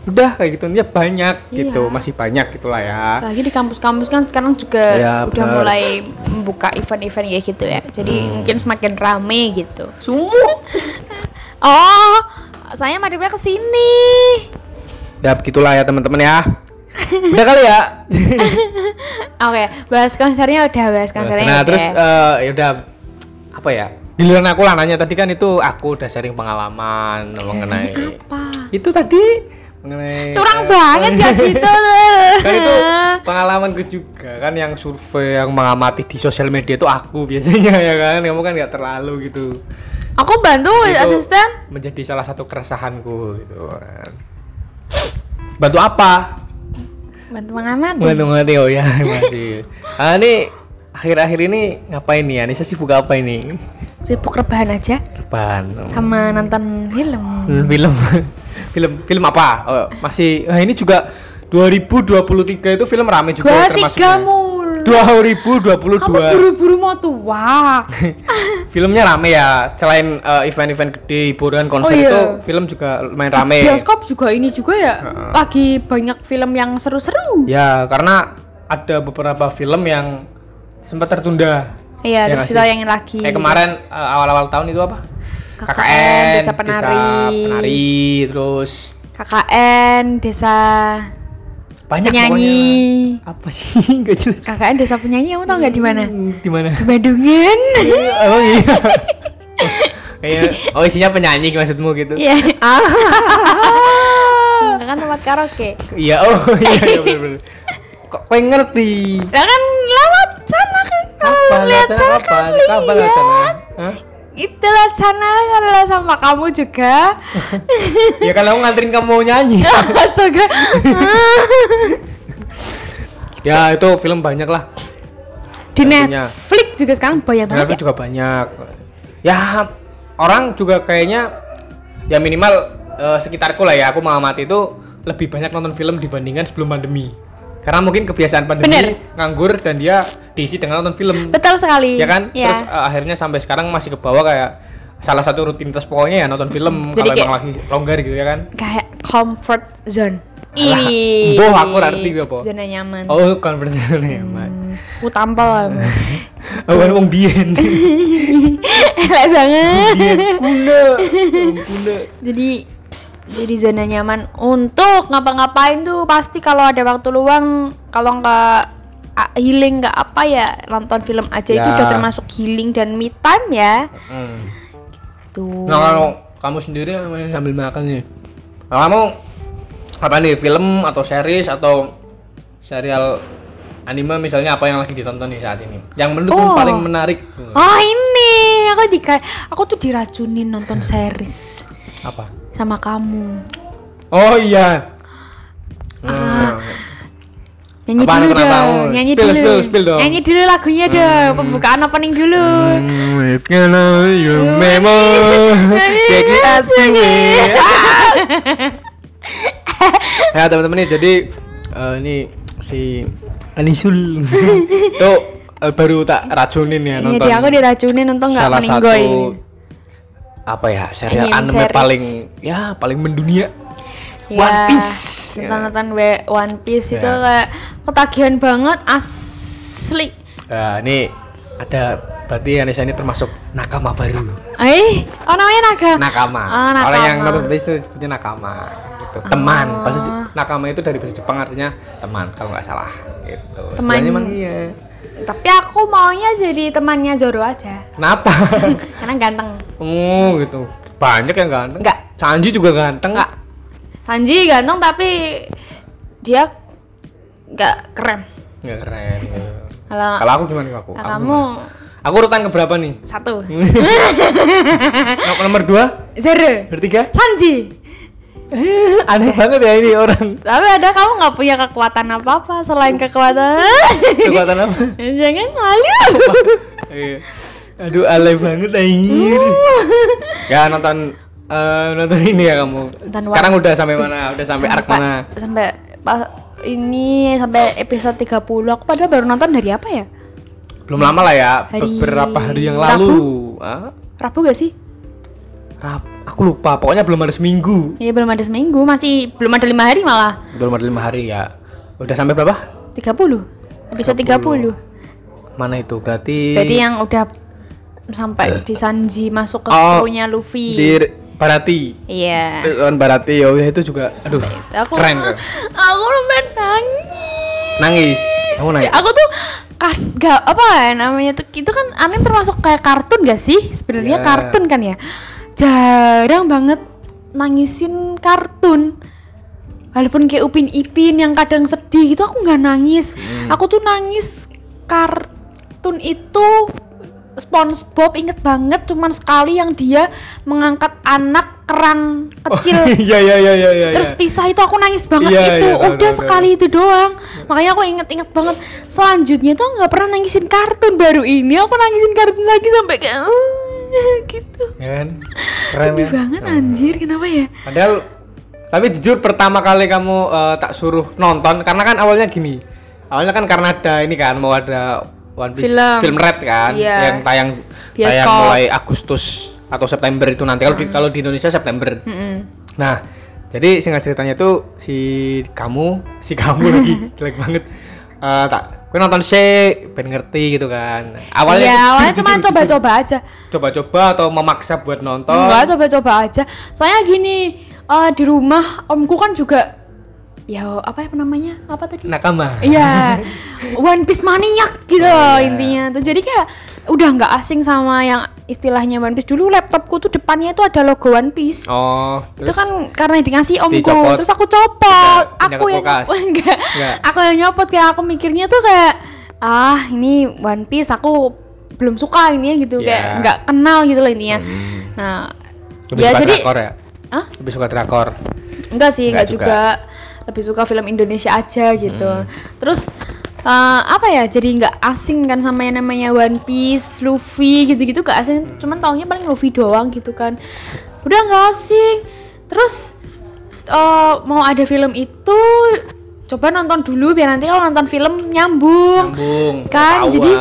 [SPEAKER 1] Eh, udah kayak gitu ya banyak gitu
[SPEAKER 2] Iya.
[SPEAKER 1] masih banyak gitulah ya
[SPEAKER 2] Lagi di kampus-kampus kan sekarang juga
[SPEAKER 1] Iya,
[SPEAKER 2] udah
[SPEAKER 1] benar. Hmm.
[SPEAKER 2] mulai membuka event-event kayak gitu ya, jadi mungkin semakin rame gitu.
[SPEAKER 1] sumuk
[SPEAKER 2] Oh, saya madepnya ke sini.
[SPEAKER 1] ya begitulah ya teman-teman ya udah kali ya
[SPEAKER 2] Oke, bahas konsernya udah bahas konsernya.
[SPEAKER 1] nah
[SPEAKER 2] udah.
[SPEAKER 1] terus eh, ya udah apa ya giliran aku lah nanya tadi kan itu aku udah sharing pengalaman mengenai
[SPEAKER 2] Iya. apa?
[SPEAKER 1] itu tadi mengenai eh,
[SPEAKER 2] Curang banget ya gitu loh.
[SPEAKER 1] kan itu pengalaman gue juga kan yang survei yang mengamati di sosial media itu aku biasanya ya kan kamu kan nggak terlalu gitu
[SPEAKER 2] Aku bantu
[SPEAKER 1] Itu
[SPEAKER 2] asisten.
[SPEAKER 1] menjadi salah satu keresahanku gitu kan bantu apa
[SPEAKER 2] Bantu mengamati.
[SPEAKER 1] bantu ngerti oh ya masih ah ini akhir-akhir ini ngapain nih Anissa sibuk apa ini
[SPEAKER 2] Sibuk rebahan aja.
[SPEAKER 1] depan
[SPEAKER 2] sama nonton film
[SPEAKER 1] Hmm, film film film apa Oh, masih ah, ini juga 2023 itu film rame juga ya,
[SPEAKER 2] gua tiga
[SPEAKER 1] termasuknya.
[SPEAKER 2] mulu
[SPEAKER 1] 2022
[SPEAKER 2] kamu buru-buru mau tua
[SPEAKER 1] filmnya rame ya selain eh, event-event gede hiburan konser
[SPEAKER 2] Oh, iya.
[SPEAKER 1] itu film juga lumayan rame
[SPEAKER 2] bioskop juga ini juga ya
[SPEAKER 1] Heeh.
[SPEAKER 2] lagi banyak film yang seru-seru
[SPEAKER 1] ya karena ada beberapa film yang sempat tertunda
[SPEAKER 2] iya
[SPEAKER 1] Ya nggak
[SPEAKER 2] terus
[SPEAKER 1] sih?
[SPEAKER 2] ditayangin lagi
[SPEAKER 1] kayak kemarin eh, awal-awal tahun itu apa
[SPEAKER 2] KKN, Desa Penari.
[SPEAKER 1] Penari, terus
[SPEAKER 2] KKN desa
[SPEAKER 1] banyak
[SPEAKER 2] penyanyi
[SPEAKER 1] pokoknya. apa sih nggak jelas
[SPEAKER 2] KKN desa penyanyi kamu tau nggak Eh, di mana
[SPEAKER 1] di mana
[SPEAKER 2] di Bandungan
[SPEAKER 1] oh iya Iya. oh isinya penyanyi maksudmu gitu
[SPEAKER 2] iya kan tempat karaoke
[SPEAKER 1] Iya, oh iya, iya bener bener. Kok pengen ngerti?
[SPEAKER 2] lah kan lewat sana kan
[SPEAKER 1] Apa
[SPEAKER 2] kalau lihat
[SPEAKER 1] lacana
[SPEAKER 2] sana
[SPEAKER 1] apa?
[SPEAKER 2] kan
[SPEAKER 1] Apa
[SPEAKER 2] lihat.
[SPEAKER 1] lacana? Hah?
[SPEAKER 2] itu lihat sana kan lihat sama kamu juga
[SPEAKER 1] Ya kalau aku nganterin kamu mau nyanyi.
[SPEAKER 2] astaga
[SPEAKER 1] ya itu film banyak lah.
[SPEAKER 2] di
[SPEAKER 1] Tentunya.
[SPEAKER 2] Netflix juga sekarang banyak banget
[SPEAKER 1] Film
[SPEAKER 2] ya
[SPEAKER 1] juga banyak. Ya orang juga kayaknya ya minimal eh, sekitarku lah ya aku mengamati itu lebih banyak nonton film dibandingkan sebelum pandemi. Karena mungkin kebiasaan pandemi
[SPEAKER 2] Bener.
[SPEAKER 1] nganggur dan dia diisi dengan nonton film.
[SPEAKER 2] betul sekali Iya.
[SPEAKER 1] ya kan terus eh, akhirnya sampai sekarang masih ke bawah kayak salah satu rutinitas pokoknya ya nonton film
[SPEAKER 2] Jadi
[SPEAKER 1] kalau emang
[SPEAKER 2] kayak-
[SPEAKER 1] lagi longgar gitu ya kan
[SPEAKER 2] kayak comfort zone
[SPEAKER 1] Alah,
[SPEAKER 2] ini
[SPEAKER 1] boh, aku ora ngerti gue, boh.
[SPEAKER 2] zona nyaman
[SPEAKER 1] oh konversi nih mas
[SPEAKER 2] aku tampol kamu.
[SPEAKER 1] oh kan wong biyen
[SPEAKER 2] elek banget
[SPEAKER 1] biyen kuna Wong kuna
[SPEAKER 2] jadi jadi zona nyaman untuk ngapa-ngapain tuh pasti kalau ada waktu luang kalau nggak a- healing nggak apa ya nonton film aja itu
[SPEAKER 1] Ya.
[SPEAKER 2] udah termasuk healing dan me time ya
[SPEAKER 1] Hmm.
[SPEAKER 2] tuh
[SPEAKER 1] Nah kalau kamu sendiri main sambil makan nih, nah, kamu apa nih film atau series atau serial anime misalnya apa yang lagi ditonton nih saat ini? Yang menurutmu
[SPEAKER 2] Oh.
[SPEAKER 1] paling menarik
[SPEAKER 2] oh ini aku di aku tuh diracunin nonton series
[SPEAKER 1] apa?
[SPEAKER 2] sama kamu
[SPEAKER 1] Oh iya.
[SPEAKER 2] Ah,
[SPEAKER 1] Hmm.
[SPEAKER 2] nyanyi
[SPEAKER 1] Apaan,
[SPEAKER 2] dulu
[SPEAKER 1] kenapa?
[SPEAKER 2] dong
[SPEAKER 1] Oh,
[SPEAKER 2] nyanyi
[SPEAKER 1] spill,
[SPEAKER 2] dulu
[SPEAKER 1] spill, spill dong. Hmm.
[SPEAKER 2] nyanyi dulu lagunya dong pembukaan opening dulu
[SPEAKER 1] Mm, it can all your memory, take it as you will. ya teman-teman nih jadi eh, ini si Anisul itu eh, baru tak racunin ya
[SPEAKER 2] Iya,
[SPEAKER 1] nonton
[SPEAKER 2] dia aku diracunin nonton nggak
[SPEAKER 1] salah
[SPEAKER 2] meninggoy
[SPEAKER 1] satu apa ya serial
[SPEAKER 2] Anime
[SPEAKER 1] anime
[SPEAKER 2] series.
[SPEAKER 1] paling ya paling mendunia
[SPEAKER 2] Ya,
[SPEAKER 1] One Piece.
[SPEAKER 2] tentang nonton we- One Piece itu
[SPEAKER 1] Ya.
[SPEAKER 2] kayak ketagihan banget asli
[SPEAKER 1] nah ini ada berarti Anissa ini termasuk nakama baru
[SPEAKER 2] eh oh namanya naga
[SPEAKER 1] nakama.
[SPEAKER 2] Ah, nakama.
[SPEAKER 1] orang yang nonton bis itu disebutnya nakama gitu. teman
[SPEAKER 2] Ah.
[SPEAKER 1] bahasa Je- nakama itu dari bahasa Jepang artinya teman kalau nggak salah gitu
[SPEAKER 2] Teman.
[SPEAKER 1] Sebenarnya emang iya
[SPEAKER 2] tapi aku maunya jadi temannya Zoro aja
[SPEAKER 1] kenapa
[SPEAKER 2] karena ganteng
[SPEAKER 1] oh gitu banyak yang ganteng
[SPEAKER 2] Nggak.
[SPEAKER 1] Sanji juga ganteng
[SPEAKER 2] nggak Sanji ganteng tapi dia nggak keren
[SPEAKER 1] nggak keren gitu.
[SPEAKER 2] kalau
[SPEAKER 1] kalau aku gimana aku
[SPEAKER 2] kalau
[SPEAKER 1] Aku Hmm.
[SPEAKER 2] kamu
[SPEAKER 1] gimana? aku urutan keberapa nih
[SPEAKER 2] satu
[SPEAKER 1] Nom- nomor dua
[SPEAKER 2] Zoro
[SPEAKER 1] bertiga
[SPEAKER 2] Sanji
[SPEAKER 1] aneh banget ya ini orang
[SPEAKER 2] tapi ada kamu nggak punya kekuatan apa apa selain kekuatan
[SPEAKER 1] kekuatan apa
[SPEAKER 2] jangan malu
[SPEAKER 1] Iya. aduh alay banget anjir ya nonton eh, nonton ini ya kamu
[SPEAKER 2] Nonton
[SPEAKER 1] sekarang
[SPEAKER 2] One
[SPEAKER 1] udah sampai mana udah sampai arc
[SPEAKER 2] pa-
[SPEAKER 1] mana
[SPEAKER 2] sampai pa- ini sampai episode 30 aku padahal baru nonton dari apa ya
[SPEAKER 1] belum lama lah ya
[SPEAKER 2] Hari
[SPEAKER 1] beberapa hari yang
[SPEAKER 2] Rabu?
[SPEAKER 1] lalu Hah?
[SPEAKER 2] Rabu gak sih?
[SPEAKER 1] Rap- aku lupa pokoknya belum ada seminggu
[SPEAKER 2] Ya belum ada seminggu, masih belum ada lima hari malah
[SPEAKER 1] belum ada lima hari ya udah sampai berapa
[SPEAKER 2] 30 Episode
[SPEAKER 1] 30.
[SPEAKER 2] 30,
[SPEAKER 1] mana itu berarti
[SPEAKER 2] Berarti yang udah sampai di Sanji masuk ke
[SPEAKER 1] Eh. Oh,
[SPEAKER 2] krunya Luffy
[SPEAKER 1] di Barati
[SPEAKER 2] Iya
[SPEAKER 1] lawan Barati ya udah, itu juga aduh
[SPEAKER 2] Aku
[SPEAKER 1] keren kan?
[SPEAKER 2] Aku lumayan nangis
[SPEAKER 1] nangis kamu nangis
[SPEAKER 2] Iya, Aku tuh kan gak apa ya namanya tuh itu kan anime termasuk kayak kartun gak sih
[SPEAKER 1] Ya.
[SPEAKER 2] sebenarnya kartun kan ya jarang banget nangisin kartun walaupun kayak upin ipin yang kadang sedih gitu aku nggak nangis
[SPEAKER 1] Hmm.
[SPEAKER 2] aku tuh nangis kartun itu SpongeBob inget banget cuman sekali yang dia mengangkat anak kerang kecil
[SPEAKER 1] iya iya iya iya iya
[SPEAKER 2] terus pisah itu aku nangis banget
[SPEAKER 1] Iya,
[SPEAKER 2] itu
[SPEAKER 1] iya, tahu,
[SPEAKER 2] udah
[SPEAKER 1] tahu,
[SPEAKER 2] sekali itu doang makanya aku inget-inget banget selanjutnya tuh nggak pernah nangisin kartun baru ini aku nangisin kartun lagi sampai kayak "Uh," gitu
[SPEAKER 1] Ya kan keren
[SPEAKER 2] sedih
[SPEAKER 1] ya
[SPEAKER 2] banget anjir kenapa ya
[SPEAKER 1] Padahal tapi jujur pertama kali kamu eh, tak suruh nonton karena kan awalnya gini. Awalnya kan karena ada ini kan mau ada One Piece
[SPEAKER 2] Film.
[SPEAKER 1] film, Red kan
[SPEAKER 2] Iya.
[SPEAKER 1] yang tayang
[SPEAKER 2] Bioskop. Hmm.
[SPEAKER 1] tayang mulai Agustus atau September itu nanti kalau di kalau di Indonesia September.
[SPEAKER 2] Mm-mm.
[SPEAKER 1] Nah, jadi singkat ceritanya tuh si kamu, si kamu lagi jelek banget. Eh, tak, gue nonton sih, pengen ngerti gitu kan. Awalnya
[SPEAKER 2] ya
[SPEAKER 1] tuh
[SPEAKER 2] awalnya
[SPEAKER 1] gitu,
[SPEAKER 2] cuma
[SPEAKER 1] gitu, gitu.
[SPEAKER 2] coba-coba aja
[SPEAKER 1] coba-coba atau memaksa buat nonton.
[SPEAKER 2] enggak coba-coba aja soalnya gini eh, di rumah omku kan juga ya apa ya namanya apa tadi
[SPEAKER 1] Nakama.
[SPEAKER 2] Iya, One Piece maniak gitu
[SPEAKER 1] Iya.
[SPEAKER 2] intinya tuh. Jadi kayak udah nggak asing sama yang istilahnya One Piece dulu. Laptopku tuh depannya itu ada logo One Piece.
[SPEAKER 1] Oh,
[SPEAKER 2] itu kan karena dikasih omku,
[SPEAKER 1] Dicopot.
[SPEAKER 2] terus aku
[SPEAKER 1] Pindah-
[SPEAKER 2] copot.
[SPEAKER 1] pindah
[SPEAKER 2] aku
[SPEAKER 1] ke
[SPEAKER 2] yang
[SPEAKER 1] kulkas.
[SPEAKER 2] enggak,
[SPEAKER 1] Enggak.
[SPEAKER 2] aku yang nyopot kayak aku mikirnya tuh kayak ah ini One Piece aku belum suka ini gitu kayak
[SPEAKER 1] Iya. Hmm.
[SPEAKER 2] nggak kenal gitu loh intinya. Nah,
[SPEAKER 1] lebih
[SPEAKER 2] ya
[SPEAKER 1] suka
[SPEAKER 2] jadi
[SPEAKER 1] drakor ya
[SPEAKER 2] Hah?
[SPEAKER 1] lebih suka drakor
[SPEAKER 2] Enggak sih, enggak
[SPEAKER 1] Enggak
[SPEAKER 2] juga. Lebih suka film Indonesia aja gitu. Terus eh, apa ya? Jadi nggak asing kan sama yang namanya One Piece, Luffy gitu-gitu gak asing. Cuman taunya paling Luffy doang gitu kan. Udah nggak asing. Terus eh, mau ada film itu coba nonton dulu biar nanti kalau nonton film nyambung
[SPEAKER 1] nyambung
[SPEAKER 2] kan
[SPEAKER 1] ketahuan.
[SPEAKER 2] jadi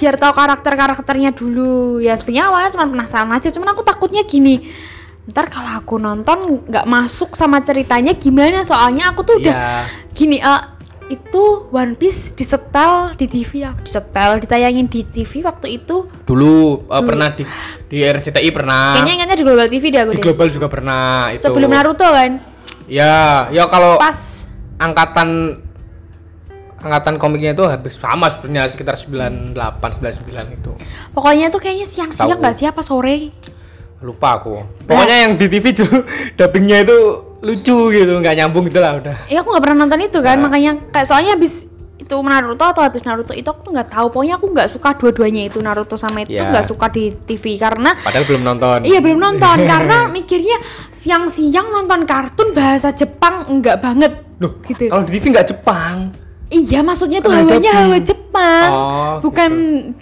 [SPEAKER 2] biar tahu karakter karakternya dulu ya sebenarnya awalnya cuma penasaran aja cuman aku takutnya gini ntar kalau aku nonton nggak masuk sama ceritanya gimana soalnya aku tuh udah
[SPEAKER 1] Iya.
[SPEAKER 2] gini eh, itu One Piece disetel di TV ya disetel ditayangin di TV waktu itu
[SPEAKER 1] dulu eh, pernah di di RCTI pernah
[SPEAKER 2] Hmm. kayaknya ingatnya di Global TV deh aku
[SPEAKER 1] Ah. di
[SPEAKER 2] deh
[SPEAKER 1] global juga pernah itu
[SPEAKER 2] sebelum Naruto kan
[SPEAKER 1] ya ya kalau
[SPEAKER 2] pas
[SPEAKER 1] angkatan angkatan komiknya itu habis sama sebenarnya sekitar 98 99 itu.
[SPEAKER 2] Pokoknya tuh kayaknya
[SPEAKER 1] Tahu.
[SPEAKER 2] siang-siang nggak sih apa sore?
[SPEAKER 1] Lupa aku. Pokoknya yang di TV dulu dubbingnya itu lucu gitu, nggak nyambung gitu lah udah.
[SPEAKER 2] Iya aku nggak pernah nonton itu kan,
[SPEAKER 1] Nah.
[SPEAKER 2] makanya kayak soalnya habis itu Naruto atau habis Naruto itu aku tuh nggak tahu. Pokoknya aku nggak suka dua-duanya itu Naruto sama itu
[SPEAKER 1] Iya.
[SPEAKER 2] nggak suka di TV karena
[SPEAKER 1] Padahal belum nonton.
[SPEAKER 2] Iya belum nonton karena mikirnya siang-siang nonton kartun bahasa Jepang enggak banget.
[SPEAKER 1] Loh,
[SPEAKER 2] gitu.
[SPEAKER 1] Kalau di TV nggak Jepang.
[SPEAKER 2] Iya maksudnya tuh
[SPEAKER 1] Kan ada
[SPEAKER 2] hawanya
[SPEAKER 1] dubbing.
[SPEAKER 2] hawa Jepang.
[SPEAKER 1] Oh,
[SPEAKER 2] Bukan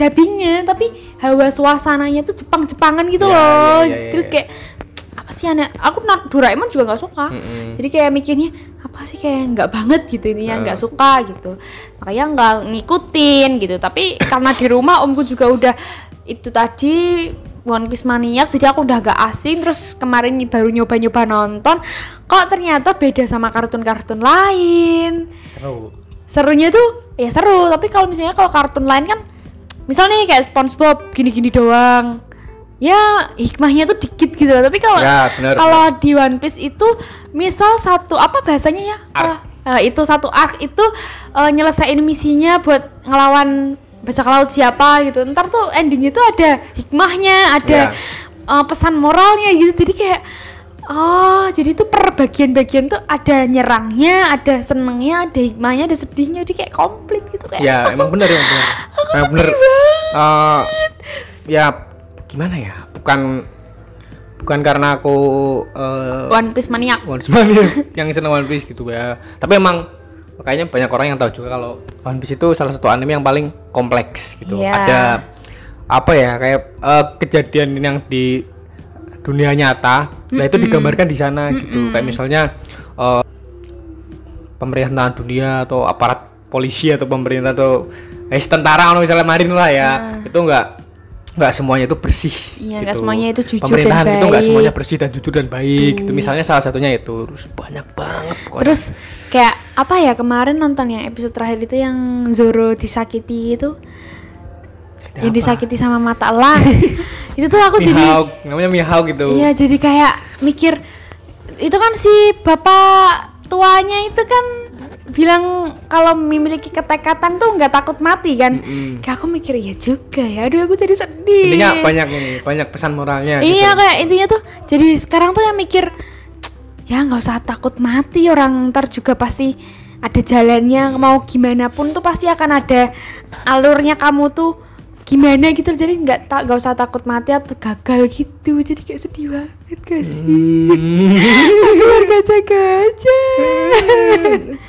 [SPEAKER 2] dubbingnya tapi hawa suasananya tuh Jepang-Jepangan gitu
[SPEAKER 1] Ya,
[SPEAKER 2] loh.
[SPEAKER 1] ya, ya, ya,
[SPEAKER 2] Terus
[SPEAKER 1] ya.
[SPEAKER 2] kayak apa sih aneh? Aku na- Doraemon juga nggak suka.
[SPEAKER 1] Mm-mm.
[SPEAKER 2] Jadi kayak mikirnya apa sih kayak nggak banget gitu ini yang
[SPEAKER 1] Nah.
[SPEAKER 2] nggak suka gitu. Makanya nggak ngikutin gitu. Tapi karena di rumah omku juga udah itu tadi One Piece maniak jadi aku udah gak asing terus kemarin baru nyoba-nyoba nonton kok ternyata beda sama kartun-kartun lain
[SPEAKER 1] Seru.
[SPEAKER 2] serunya tuh ya seru tapi kalau misalnya kalau kartun lain kan misalnya kayak SpongeBob gini-gini doang ya hikmahnya tuh dikit gitu loh tapi kalau
[SPEAKER 1] Ya, benar.
[SPEAKER 2] kalau di One Piece itu misal satu apa bahasanya ya
[SPEAKER 1] Arc.
[SPEAKER 2] Ah, eh, itu satu arc itu eh, nyelesain misinya buat ngelawan bajak laut siapa gitu ntar tuh endingnya tuh ada hikmahnya ada
[SPEAKER 1] Ya.
[SPEAKER 2] eh, pesan moralnya gitu jadi kayak oh jadi tuh per bagian-bagian tuh ada nyerangnya ada senengnya ada hikmahnya ada sedihnya jadi kayak komplit gitu kayak
[SPEAKER 1] Ya, emang bener yang bener. Emang bener. Eh, ya gimana ya? Bukan bukan karena aku eh,
[SPEAKER 2] One Piece maniak
[SPEAKER 1] One Piece mania, yang seneng One Piece gitu ya. Tapi emang kayaknya banyak orang yang tahu juga kalau One Piece itu salah satu anime yang paling kompleks gitu.
[SPEAKER 2] Iya.
[SPEAKER 1] Ada apa ya kayak eh, kejadian yang di dunia nyata, nah itu digambarkan di sana gitu. Kayak misalnya eh, pemerintahan dunia atau aparat polisi atau pemerintah atau eh tentara kalau misalnya marin lah ya itu nggak nggak semuanya itu bersih
[SPEAKER 2] Nah.
[SPEAKER 1] gitu.
[SPEAKER 2] Iya, nggak semuanya itu jujur dan
[SPEAKER 1] pemerintahan itu nggak
[SPEAKER 2] baik.
[SPEAKER 1] semuanya bersih dan jujur dan baik gitu misalnya salah satunya itu terus banyak banget pokoknya.
[SPEAKER 2] Terus kayak apa ya kemarin nonton yang episode terakhir itu yang Zoro disakiti itu
[SPEAKER 1] Ada
[SPEAKER 2] yang
[SPEAKER 1] apa?
[SPEAKER 2] disakiti sama mata elang itu tuh aku jadi
[SPEAKER 1] Mihawk namanya Mihawk gitu
[SPEAKER 2] iya jadi kayak mikir itu kan si bapak tuanya itu kan bilang kalau memiliki ketekatan tuh nggak takut mati kan
[SPEAKER 1] Mm-mm.
[SPEAKER 2] kayak aku mikir ya juga ya aduh aku jadi sedih
[SPEAKER 1] intinya banyak ini banyak pesan moralnya
[SPEAKER 2] Iya
[SPEAKER 1] gitu.
[SPEAKER 2] kayak intinya tuh jadi sekarang tuh yang mikir ya nggak usah takut mati orang ntar juga pasti ada jalannya mau gimana pun tuh pasti akan ada alurnya kamu tuh gimana gitu jadi nggak tak nggak usah takut mati atau gagal gitu jadi kayak sedih banget gak sih
[SPEAKER 1] Hmm.
[SPEAKER 2] aku warga gaja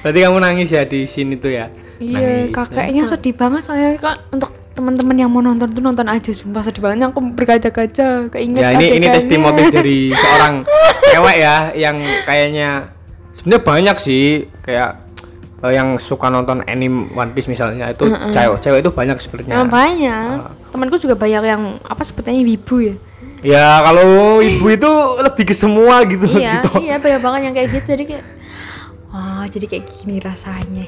[SPEAKER 1] berarti kamu nangis ya di sini tuh ya
[SPEAKER 2] iya
[SPEAKER 1] Nangis. ya.
[SPEAKER 2] kakeknya sedih banget saya kan untuk teman-teman yang mau nonton tuh nonton aja sumpah sedih banget aku berkaca-kaca keinget
[SPEAKER 1] ya ini ini
[SPEAKER 2] adegannya.
[SPEAKER 1] testimoni dari seorang cewek ya yang kayaknya sebenarnya banyak sih kayak eh, yang suka nonton anime One Piece misalnya itu cewek cewek itu banyak sebenarnya
[SPEAKER 2] Nah, banyak.
[SPEAKER 1] Ah.
[SPEAKER 2] Temanku juga banyak yang apa sepertinya wibu ya.
[SPEAKER 1] ya kalau ibu itu lebih ke semua gitu
[SPEAKER 2] iya,
[SPEAKER 1] gitu
[SPEAKER 2] iya banyak banget yang kayak gitu. Jadi kayak wah, jadi kayak gini rasanya.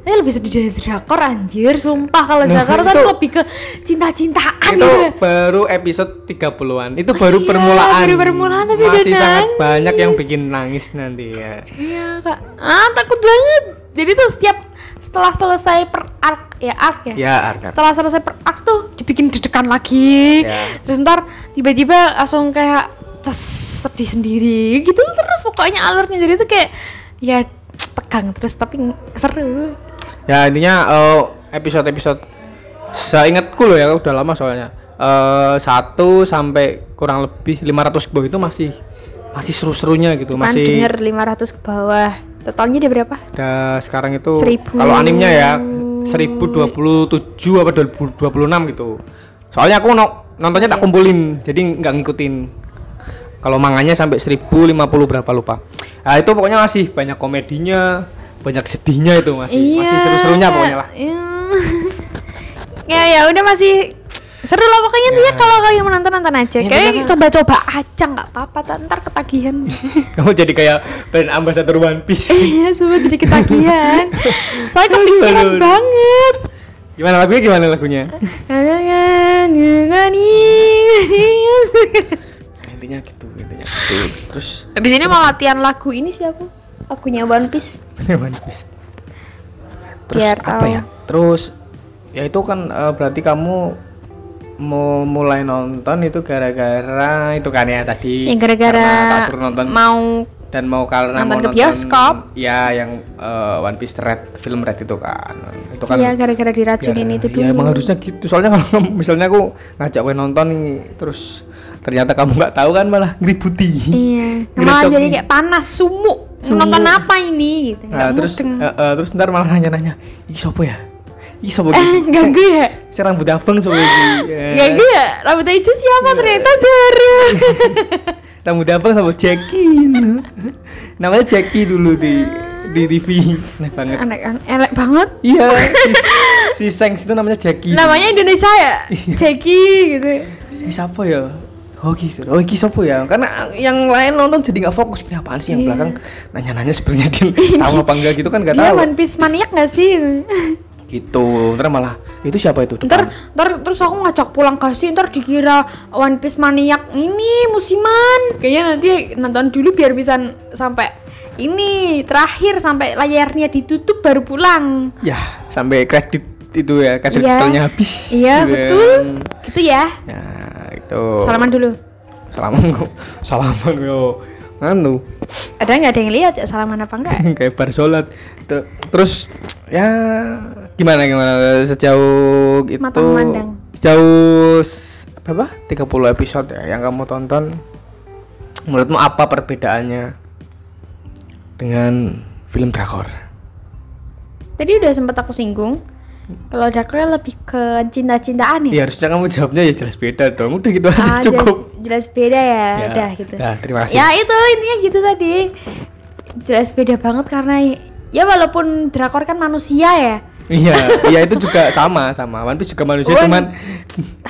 [SPEAKER 2] Tapi lebih sedih dari drakor anjir, sumpah kalau
[SPEAKER 1] Nah,
[SPEAKER 2] drakor tuh
[SPEAKER 1] itu-
[SPEAKER 2] lebih ke cinta-cintaan
[SPEAKER 1] itu
[SPEAKER 2] gitu. ya.
[SPEAKER 1] baru episode 30-an itu baru
[SPEAKER 2] Iya,
[SPEAKER 1] permulaan
[SPEAKER 2] baru permulaan tapi udah
[SPEAKER 1] masih sangat
[SPEAKER 2] nangis.
[SPEAKER 1] banyak yang bikin nangis nanti ya
[SPEAKER 2] Iya, Kak. Ah, takut banget. Jadi tuh setiap setelah selesai per arc ya arc ya.
[SPEAKER 1] ya Arka
[SPEAKER 2] setelah selesai per act tuh dibikin dedekan lagi
[SPEAKER 1] Ya.
[SPEAKER 2] terus ntar tiba-tiba langsung kayak ces, sedih sendiri gitu loh terus pokoknya alurnya jadi tuh kayak ya tegang terus tapi ng- seru
[SPEAKER 1] Ya intinya eh, episode-episode seingatku loh ya udah lama soalnya. Eh satu sampai kurang lebih 500 ke bawah itu masih masih seru-serunya gitu,
[SPEAKER 2] kan
[SPEAKER 1] masih
[SPEAKER 2] denger 500 ke bawah totalnya dia berapa?
[SPEAKER 1] ada sekarang itu
[SPEAKER 2] Seribu.
[SPEAKER 1] kalau animnya ya 1027 apa 2026 gitu. Soalnya aku no- nontonnya tak kumpulin, jadi nggak ngikutin. Kalau manganya sampai 1050 berapa lupa. Nah, itu pokoknya masih banyak komedinya, banyak sedihnya itu masih masih seru-serunya pokoknya lah.
[SPEAKER 2] iya. ya ya udah masih seru lah pokoknya intinya kalau kalian menonton nonton aja
[SPEAKER 1] Intinya
[SPEAKER 2] kayak
[SPEAKER 1] Ya. kan-
[SPEAKER 2] coba-coba aja nggak apa-apa ntar ketagihan
[SPEAKER 1] Kamu jadi kayak brand ambassador One Piece.
[SPEAKER 2] Iya, semua jadi ketagihan. Saya kepikiran
[SPEAKER 1] Aduh, aduh.
[SPEAKER 2] banget.
[SPEAKER 1] Gimana lagunya? Gimana lagunya? intinya gitu, intinya gitu. Terus
[SPEAKER 2] Abis ini mau latihan lagu ini sih aku. Lagunya One Piece.
[SPEAKER 1] One Piece. terus
[SPEAKER 2] Biar
[SPEAKER 1] apa
[SPEAKER 2] tahu.
[SPEAKER 1] ya terus ya itu kan eh, berarti kamu mau mulai nonton itu gara-gara itu kan ya tadi
[SPEAKER 2] Yang gara-gara
[SPEAKER 1] karena tak suruh nonton
[SPEAKER 2] mau
[SPEAKER 1] dan mau karena mau
[SPEAKER 2] nonton ke bioskop.
[SPEAKER 1] ya yang eh, One Piece Red film Red itu kan itu kan
[SPEAKER 2] Iya gara-gara diracunin
[SPEAKER 1] Biar-
[SPEAKER 2] itu dulu.
[SPEAKER 1] Ya emang harusnya gitu. Soalnya kalau misalnya aku ngajak gue nonton nih, terus ternyata kamu nggak tahu kan malah ngeributi.
[SPEAKER 2] Iya.
[SPEAKER 1] Geracok
[SPEAKER 2] Malah jadi
[SPEAKER 1] nih.
[SPEAKER 2] kayak panas, sumuk.
[SPEAKER 1] Sumuk.
[SPEAKER 2] Nonton apa ini gitu.
[SPEAKER 1] Nah,
[SPEAKER 2] Nggak
[SPEAKER 1] terus
[SPEAKER 2] mudeng.
[SPEAKER 1] eh, eh, terus ntar malah nanya-nanya, "Ih, sopo ya? Ih, sopo
[SPEAKER 2] Eh,
[SPEAKER 1] gitu?
[SPEAKER 2] ganggu ya?
[SPEAKER 1] Si rambut abang sopo iki?" Eh,
[SPEAKER 2] Ganggu ya? Rambut hijau
[SPEAKER 1] Iya.
[SPEAKER 2] siapa ternyata Zara.
[SPEAKER 1] Rambut abang sopo Jackie. Namanya Jackie dulu di di TV. Aneh banget.
[SPEAKER 2] Anak-anak kan elek banget.
[SPEAKER 1] Iya, si, si Sengs itu namanya Jackie.
[SPEAKER 2] Namanya Indonesia ya?
[SPEAKER 1] Iya.
[SPEAKER 2] Jackie gitu.
[SPEAKER 1] Ini siapa ya? Hoki, Hoki siapa ya? Karena yang lain nonton jadi nggak fokus. Ini apaan sih yang
[SPEAKER 2] Iya.
[SPEAKER 1] belakang nanya-nanya sebenarnya dia tahu apa enggak gitu kan nggak
[SPEAKER 2] Dia
[SPEAKER 1] tahu.
[SPEAKER 2] One Piece maniak gak sih?
[SPEAKER 1] Gitu. Ntar malah itu siapa itu? Depan.
[SPEAKER 2] ntar, ntar terus aku ngajak pulang kasih ntar dikira One Piece maniak ini musiman kayaknya nanti nonton dulu biar bisa n- sampai ini terakhir sampai layarnya ditutup baru pulang
[SPEAKER 1] Ya, sampai kredit itu ya, kredit
[SPEAKER 2] Iya.
[SPEAKER 1] totalnya habis.
[SPEAKER 2] iya
[SPEAKER 1] gitu ya.
[SPEAKER 2] betul gitu ya
[SPEAKER 1] Ya, itu.
[SPEAKER 2] salaman dulu
[SPEAKER 1] Salaman kok. Salaman yo. Nganu,
[SPEAKER 2] ada nggak ada yang lihat ya salaman apa enggak
[SPEAKER 1] kayak bar sholat. Ter- Terus ya gimana gimana sejauh itu
[SPEAKER 2] Mata memandang.
[SPEAKER 1] sejauh s- berapa 30 episode ya yang kamu tonton menurutmu apa perbedaannya dengan film drakor
[SPEAKER 2] tadi udah sempat aku singgung kalau Dracula lebih ke cinta-cintaan ya
[SPEAKER 1] Iya harusnya kamu jawabnya ya jelas beda dong udah gitu aja
[SPEAKER 2] Ah,
[SPEAKER 1] cukup
[SPEAKER 2] jelas, jelas beda ya,
[SPEAKER 1] Ya,
[SPEAKER 2] udah gitu
[SPEAKER 1] dah, terima kasih.
[SPEAKER 2] ya itu intinya gitu tadi jelas beda banget karena ya walaupun drakor kan manusia ya
[SPEAKER 1] iya iya itu juga sama sama One Piece juga manusia
[SPEAKER 2] One-
[SPEAKER 1] cuman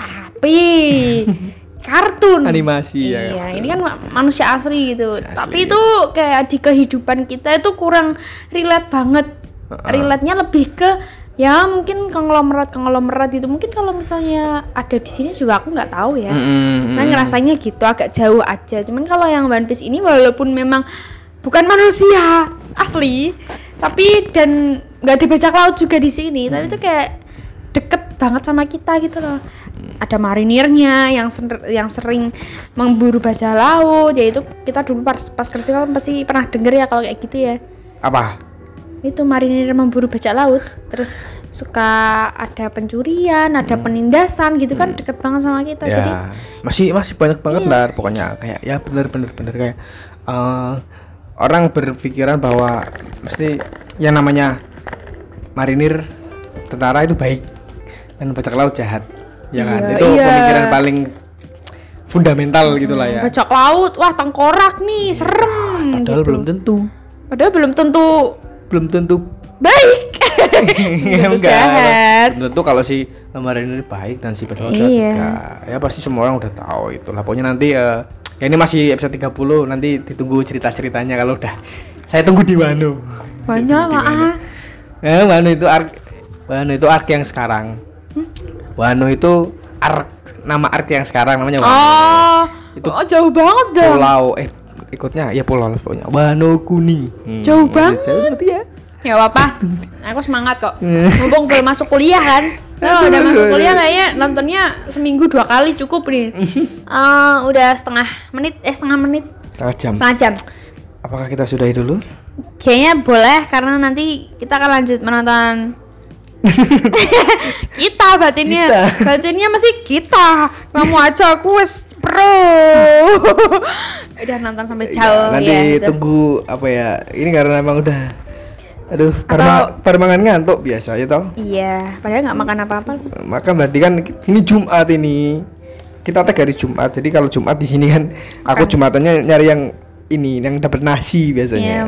[SPEAKER 2] tapi kartun
[SPEAKER 1] Animasi, ya,
[SPEAKER 2] iya
[SPEAKER 1] betul.
[SPEAKER 2] ini kan ma- manusia asli gitu
[SPEAKER 1] Manusia asli.
[SPEAKER 2] tapi itu kayak di kehidupan kita itu kurang relate banget
[SPEAKER 1] Heeh.
[SPEAKER 2] relate nya lebih ke ya mungkin konglomerat konglomerat itu mungkin kalau misalnya ada di sini juga aku nggak tahu ya
[SPEAKER 1] Mm-mm,
[SPEAKER 2] Nah
[SPEAKER 1] mm-mm.
[SPEAKER 2] ngerasainnya gitu agak jauh aja. Cuman kalau yang One Piece ini walaupun memang bukan manusia asli, tapi dan nggak ada bajak laut juga di sini, tapi
[SPEAKER 1] Mm.
[SPEAKER 2] itu kayak deket banget sama kita gitu loh. Ada marinirnya yang sen- yang sering memburu bajak laut, yaitu kita dulu pas, pas kecil kan pasti pernah denger ya kalau kayak gitu ya.
[SPEAKER 1] apa
[SPEAKER 2] Itu marinir memburu bajak laut, terus suka ada pencurian, ada penindasan gitu kan deket banget sama
[SPEAKER 1] Mm.
[SPEAKER 2] kita.
[SPEAKER 1] ya
[SPEAKER 2] Jadi
[SPEAKER 1] masih masih banyak banget
[SPEAKER 2] Iya.
[SPEAKER 1] lah pokoknya kayak ya bener bener bener kayak eh, orang berpikiran bahwa mesti yang namanya marinir tentara itu baik dan bajak laut jahat ya kan
[SPEAKER 2] Iya,
[SPEAKER 1] itu
[SPEAKER 2] iya.
[SPEAKER 1] pemikiran paling fundamental gitulah ya Iya.
[SPEAKER 2] bajak laut wah tengkorak nih serem
[SPEAKER 1] padahal
[SPEAKER 2] gitu.
[SPEAKER 1] belum tentu
[SPEAKER 2] padahal belum tentu
[SPEAKER 1] belum tentu
[SPEAKER 2] baik tentu jahat.
[SPEAKER 1] belum tentu kalau si marinir baik dan si bajak laut jahat
[SPEAKER 2] Iya.
[SPEAKER 1] enggak. ya pasti semua orang udah tahu itulah pokoknya nanti eh, ya ini masih episode 30 nanti ditunggu cerita ceritanya kalau udah saya tunggu di Wano
[SPEAKER 2] banyak
[SPEAKER 1] Di Wano.
[SPEAKER 2] ah
[SPEAKER 1] Eh, Wano itu arc Wano itu arc yang sekarang Wano itu arc nama arc yang sekarang namanya Wano
[SPEAKER 2] oh
[SPEAKER 1] iya, Itu
[SPEAKER 2] oh, jauh banget dah
[SPEAKER 1] pulau eh ikutnya ya pulau lah pokoknya Wano Kuni Hmm,
[SPEAKER 2] Jauh
[SPEAKER 1] masih
[SPEAKER 2] banget.
[SPEAKER 1] jauh, nanti ya
[SPEAKER 2] ya apa aku semangat kok
[SPEAKER 1] Eh.
[SPEAKER 2] mumpung belum masuk kuliah kan Nah, udah masuk kuliah kayaknya nontonnya seminggu dua kali cukup nih. Eh, udah setengah menit, eh setengah menit,
[SPEAKER 1] setengah jam
[SPEAKER 2] setengah jam.
[SPEAKER 1] apakah kita sudahi dulu
[SPEAKER 2] Kayaknya boleh karena nanti kita akan lanjut menonton kita batinnya
[SPEAKER 1] Kita.
[SPEAKER 2] batinnya masih kita kamu aja aku wes pro udah nonton sampai jauh
[SPEAKER 1] Iya, nanti
[SPEAKER 2] ya gitu.
[SPEAKER 1] tunggu apa ya ini karena emang udah aduh
[SPEAKER 2] Atau-
[SPEAKER 1] perma permangan ngantuk biasa ya toh
[SPEAKER 2] iya padahal nggak makan apa-apa
[SPEAKER 1] maka berarti kan ini Jumat ini kita tag hari Jumat jadi kalau Jumat di sini kan aku
[SPEAKER 2] Makan.
[SPEAKER 1] Jumatannya nyari yang ini yang dapat nasi
[SPEAKER 2] ya
[SPEAKER 1] biasanya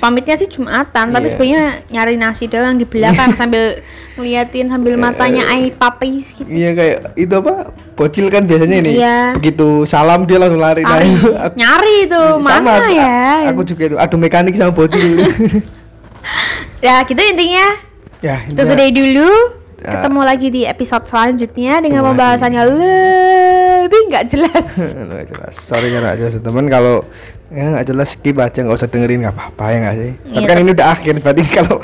[SPEAKER 2] pamitnya sih jumatan tapi
[SPEAKER 1] Iya.
[SPEAKER 2] sebenarnya nyari nasi doang di belakang sambil ngeliatin sambil matanya ai papis gitu
[SPEAKER 1] iya kayak itu apa bocil kan biasanya ini
[SPEAKER 2] Iya.
[SPEAKER 1] begitu salam dia langsung lari Nah,
[SPEAKER 2] Lari.
[SPEAKER 1] aku-
[SPEAKER 2] nyari itu mana
[SPEAKER 1] aku-
[SPEAKER 2] ya
[SPEAKER 1] aku juga itu aduh mekanik sama bocil
[SPEAKER 2] ya gitu intinya
[SPEAKER 1] ya
[SPEAKER 2] Itu
[SPEAKER 1] intinya-
[SPEAKER 2] sudah dulu.
[SPEAKER 1] Ya.
[SPEAKER 2] Ketemu lagi di episode selanjutnya dengan
[SPEAKER 1] Ketemu lagi.
[SPEAKER 2] pembahasan yang lebih nggak jelas.
[SPEAKER 1] nggak jelas sorry ya nggak jelas teman kalau ya nggak jelas skip aja nggak usah dengerin nggak apa-apa ya nggak sih tapi
[SPEAKER 2] Iya,
[SPEAKER 1] kan ini udah akhir berarti kalau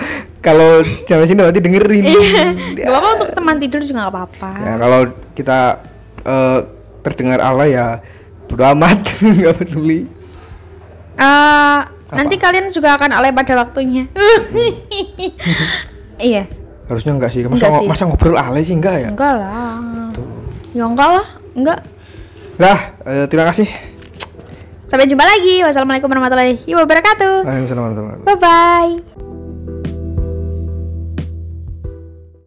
[SPEAKER 1] kalau sampai sini berarti dengerin.
[SPEAKER 2] Iya. Gak Eh, apa-apa untuk teman tidur juga gak apa-apa.
[SPEAKER 1] Hmm, Ya kalau kita eh, terdengar Allah ya bodo amat, nggak peduli.
[SPEAKER 2] Eh, nanti kalian juga akan alay pada waktunya.
[SPEAKER 1] Hmm.
[SPEAKER 2] iya,
[SPEAKER 1] Harusnya enggak sih. Masa,
[SPEAKER 2] Enggak
[SPEAKER 1] ngo-
[SPEAKER 2] sih.
[SPEAKER 1] masa ngobrol alay sih enggak ya?
[SPEAKER 2] enggak lah.
[SPEAKER 1] Tuh.
[SPEAKER 2] Ya enggak lah, enggak.
[SPEAKER 1] Dah, eh, terima kasih.
[SPEAKER 2] Sampai jumpa lagi. Wassalamualaikum warahmatullahi wabarakatuh.
[SPEAKER 1] Waalaikumsalam warahmatullahi wabarakatuh.
[SPEAKER 2] Bye bye.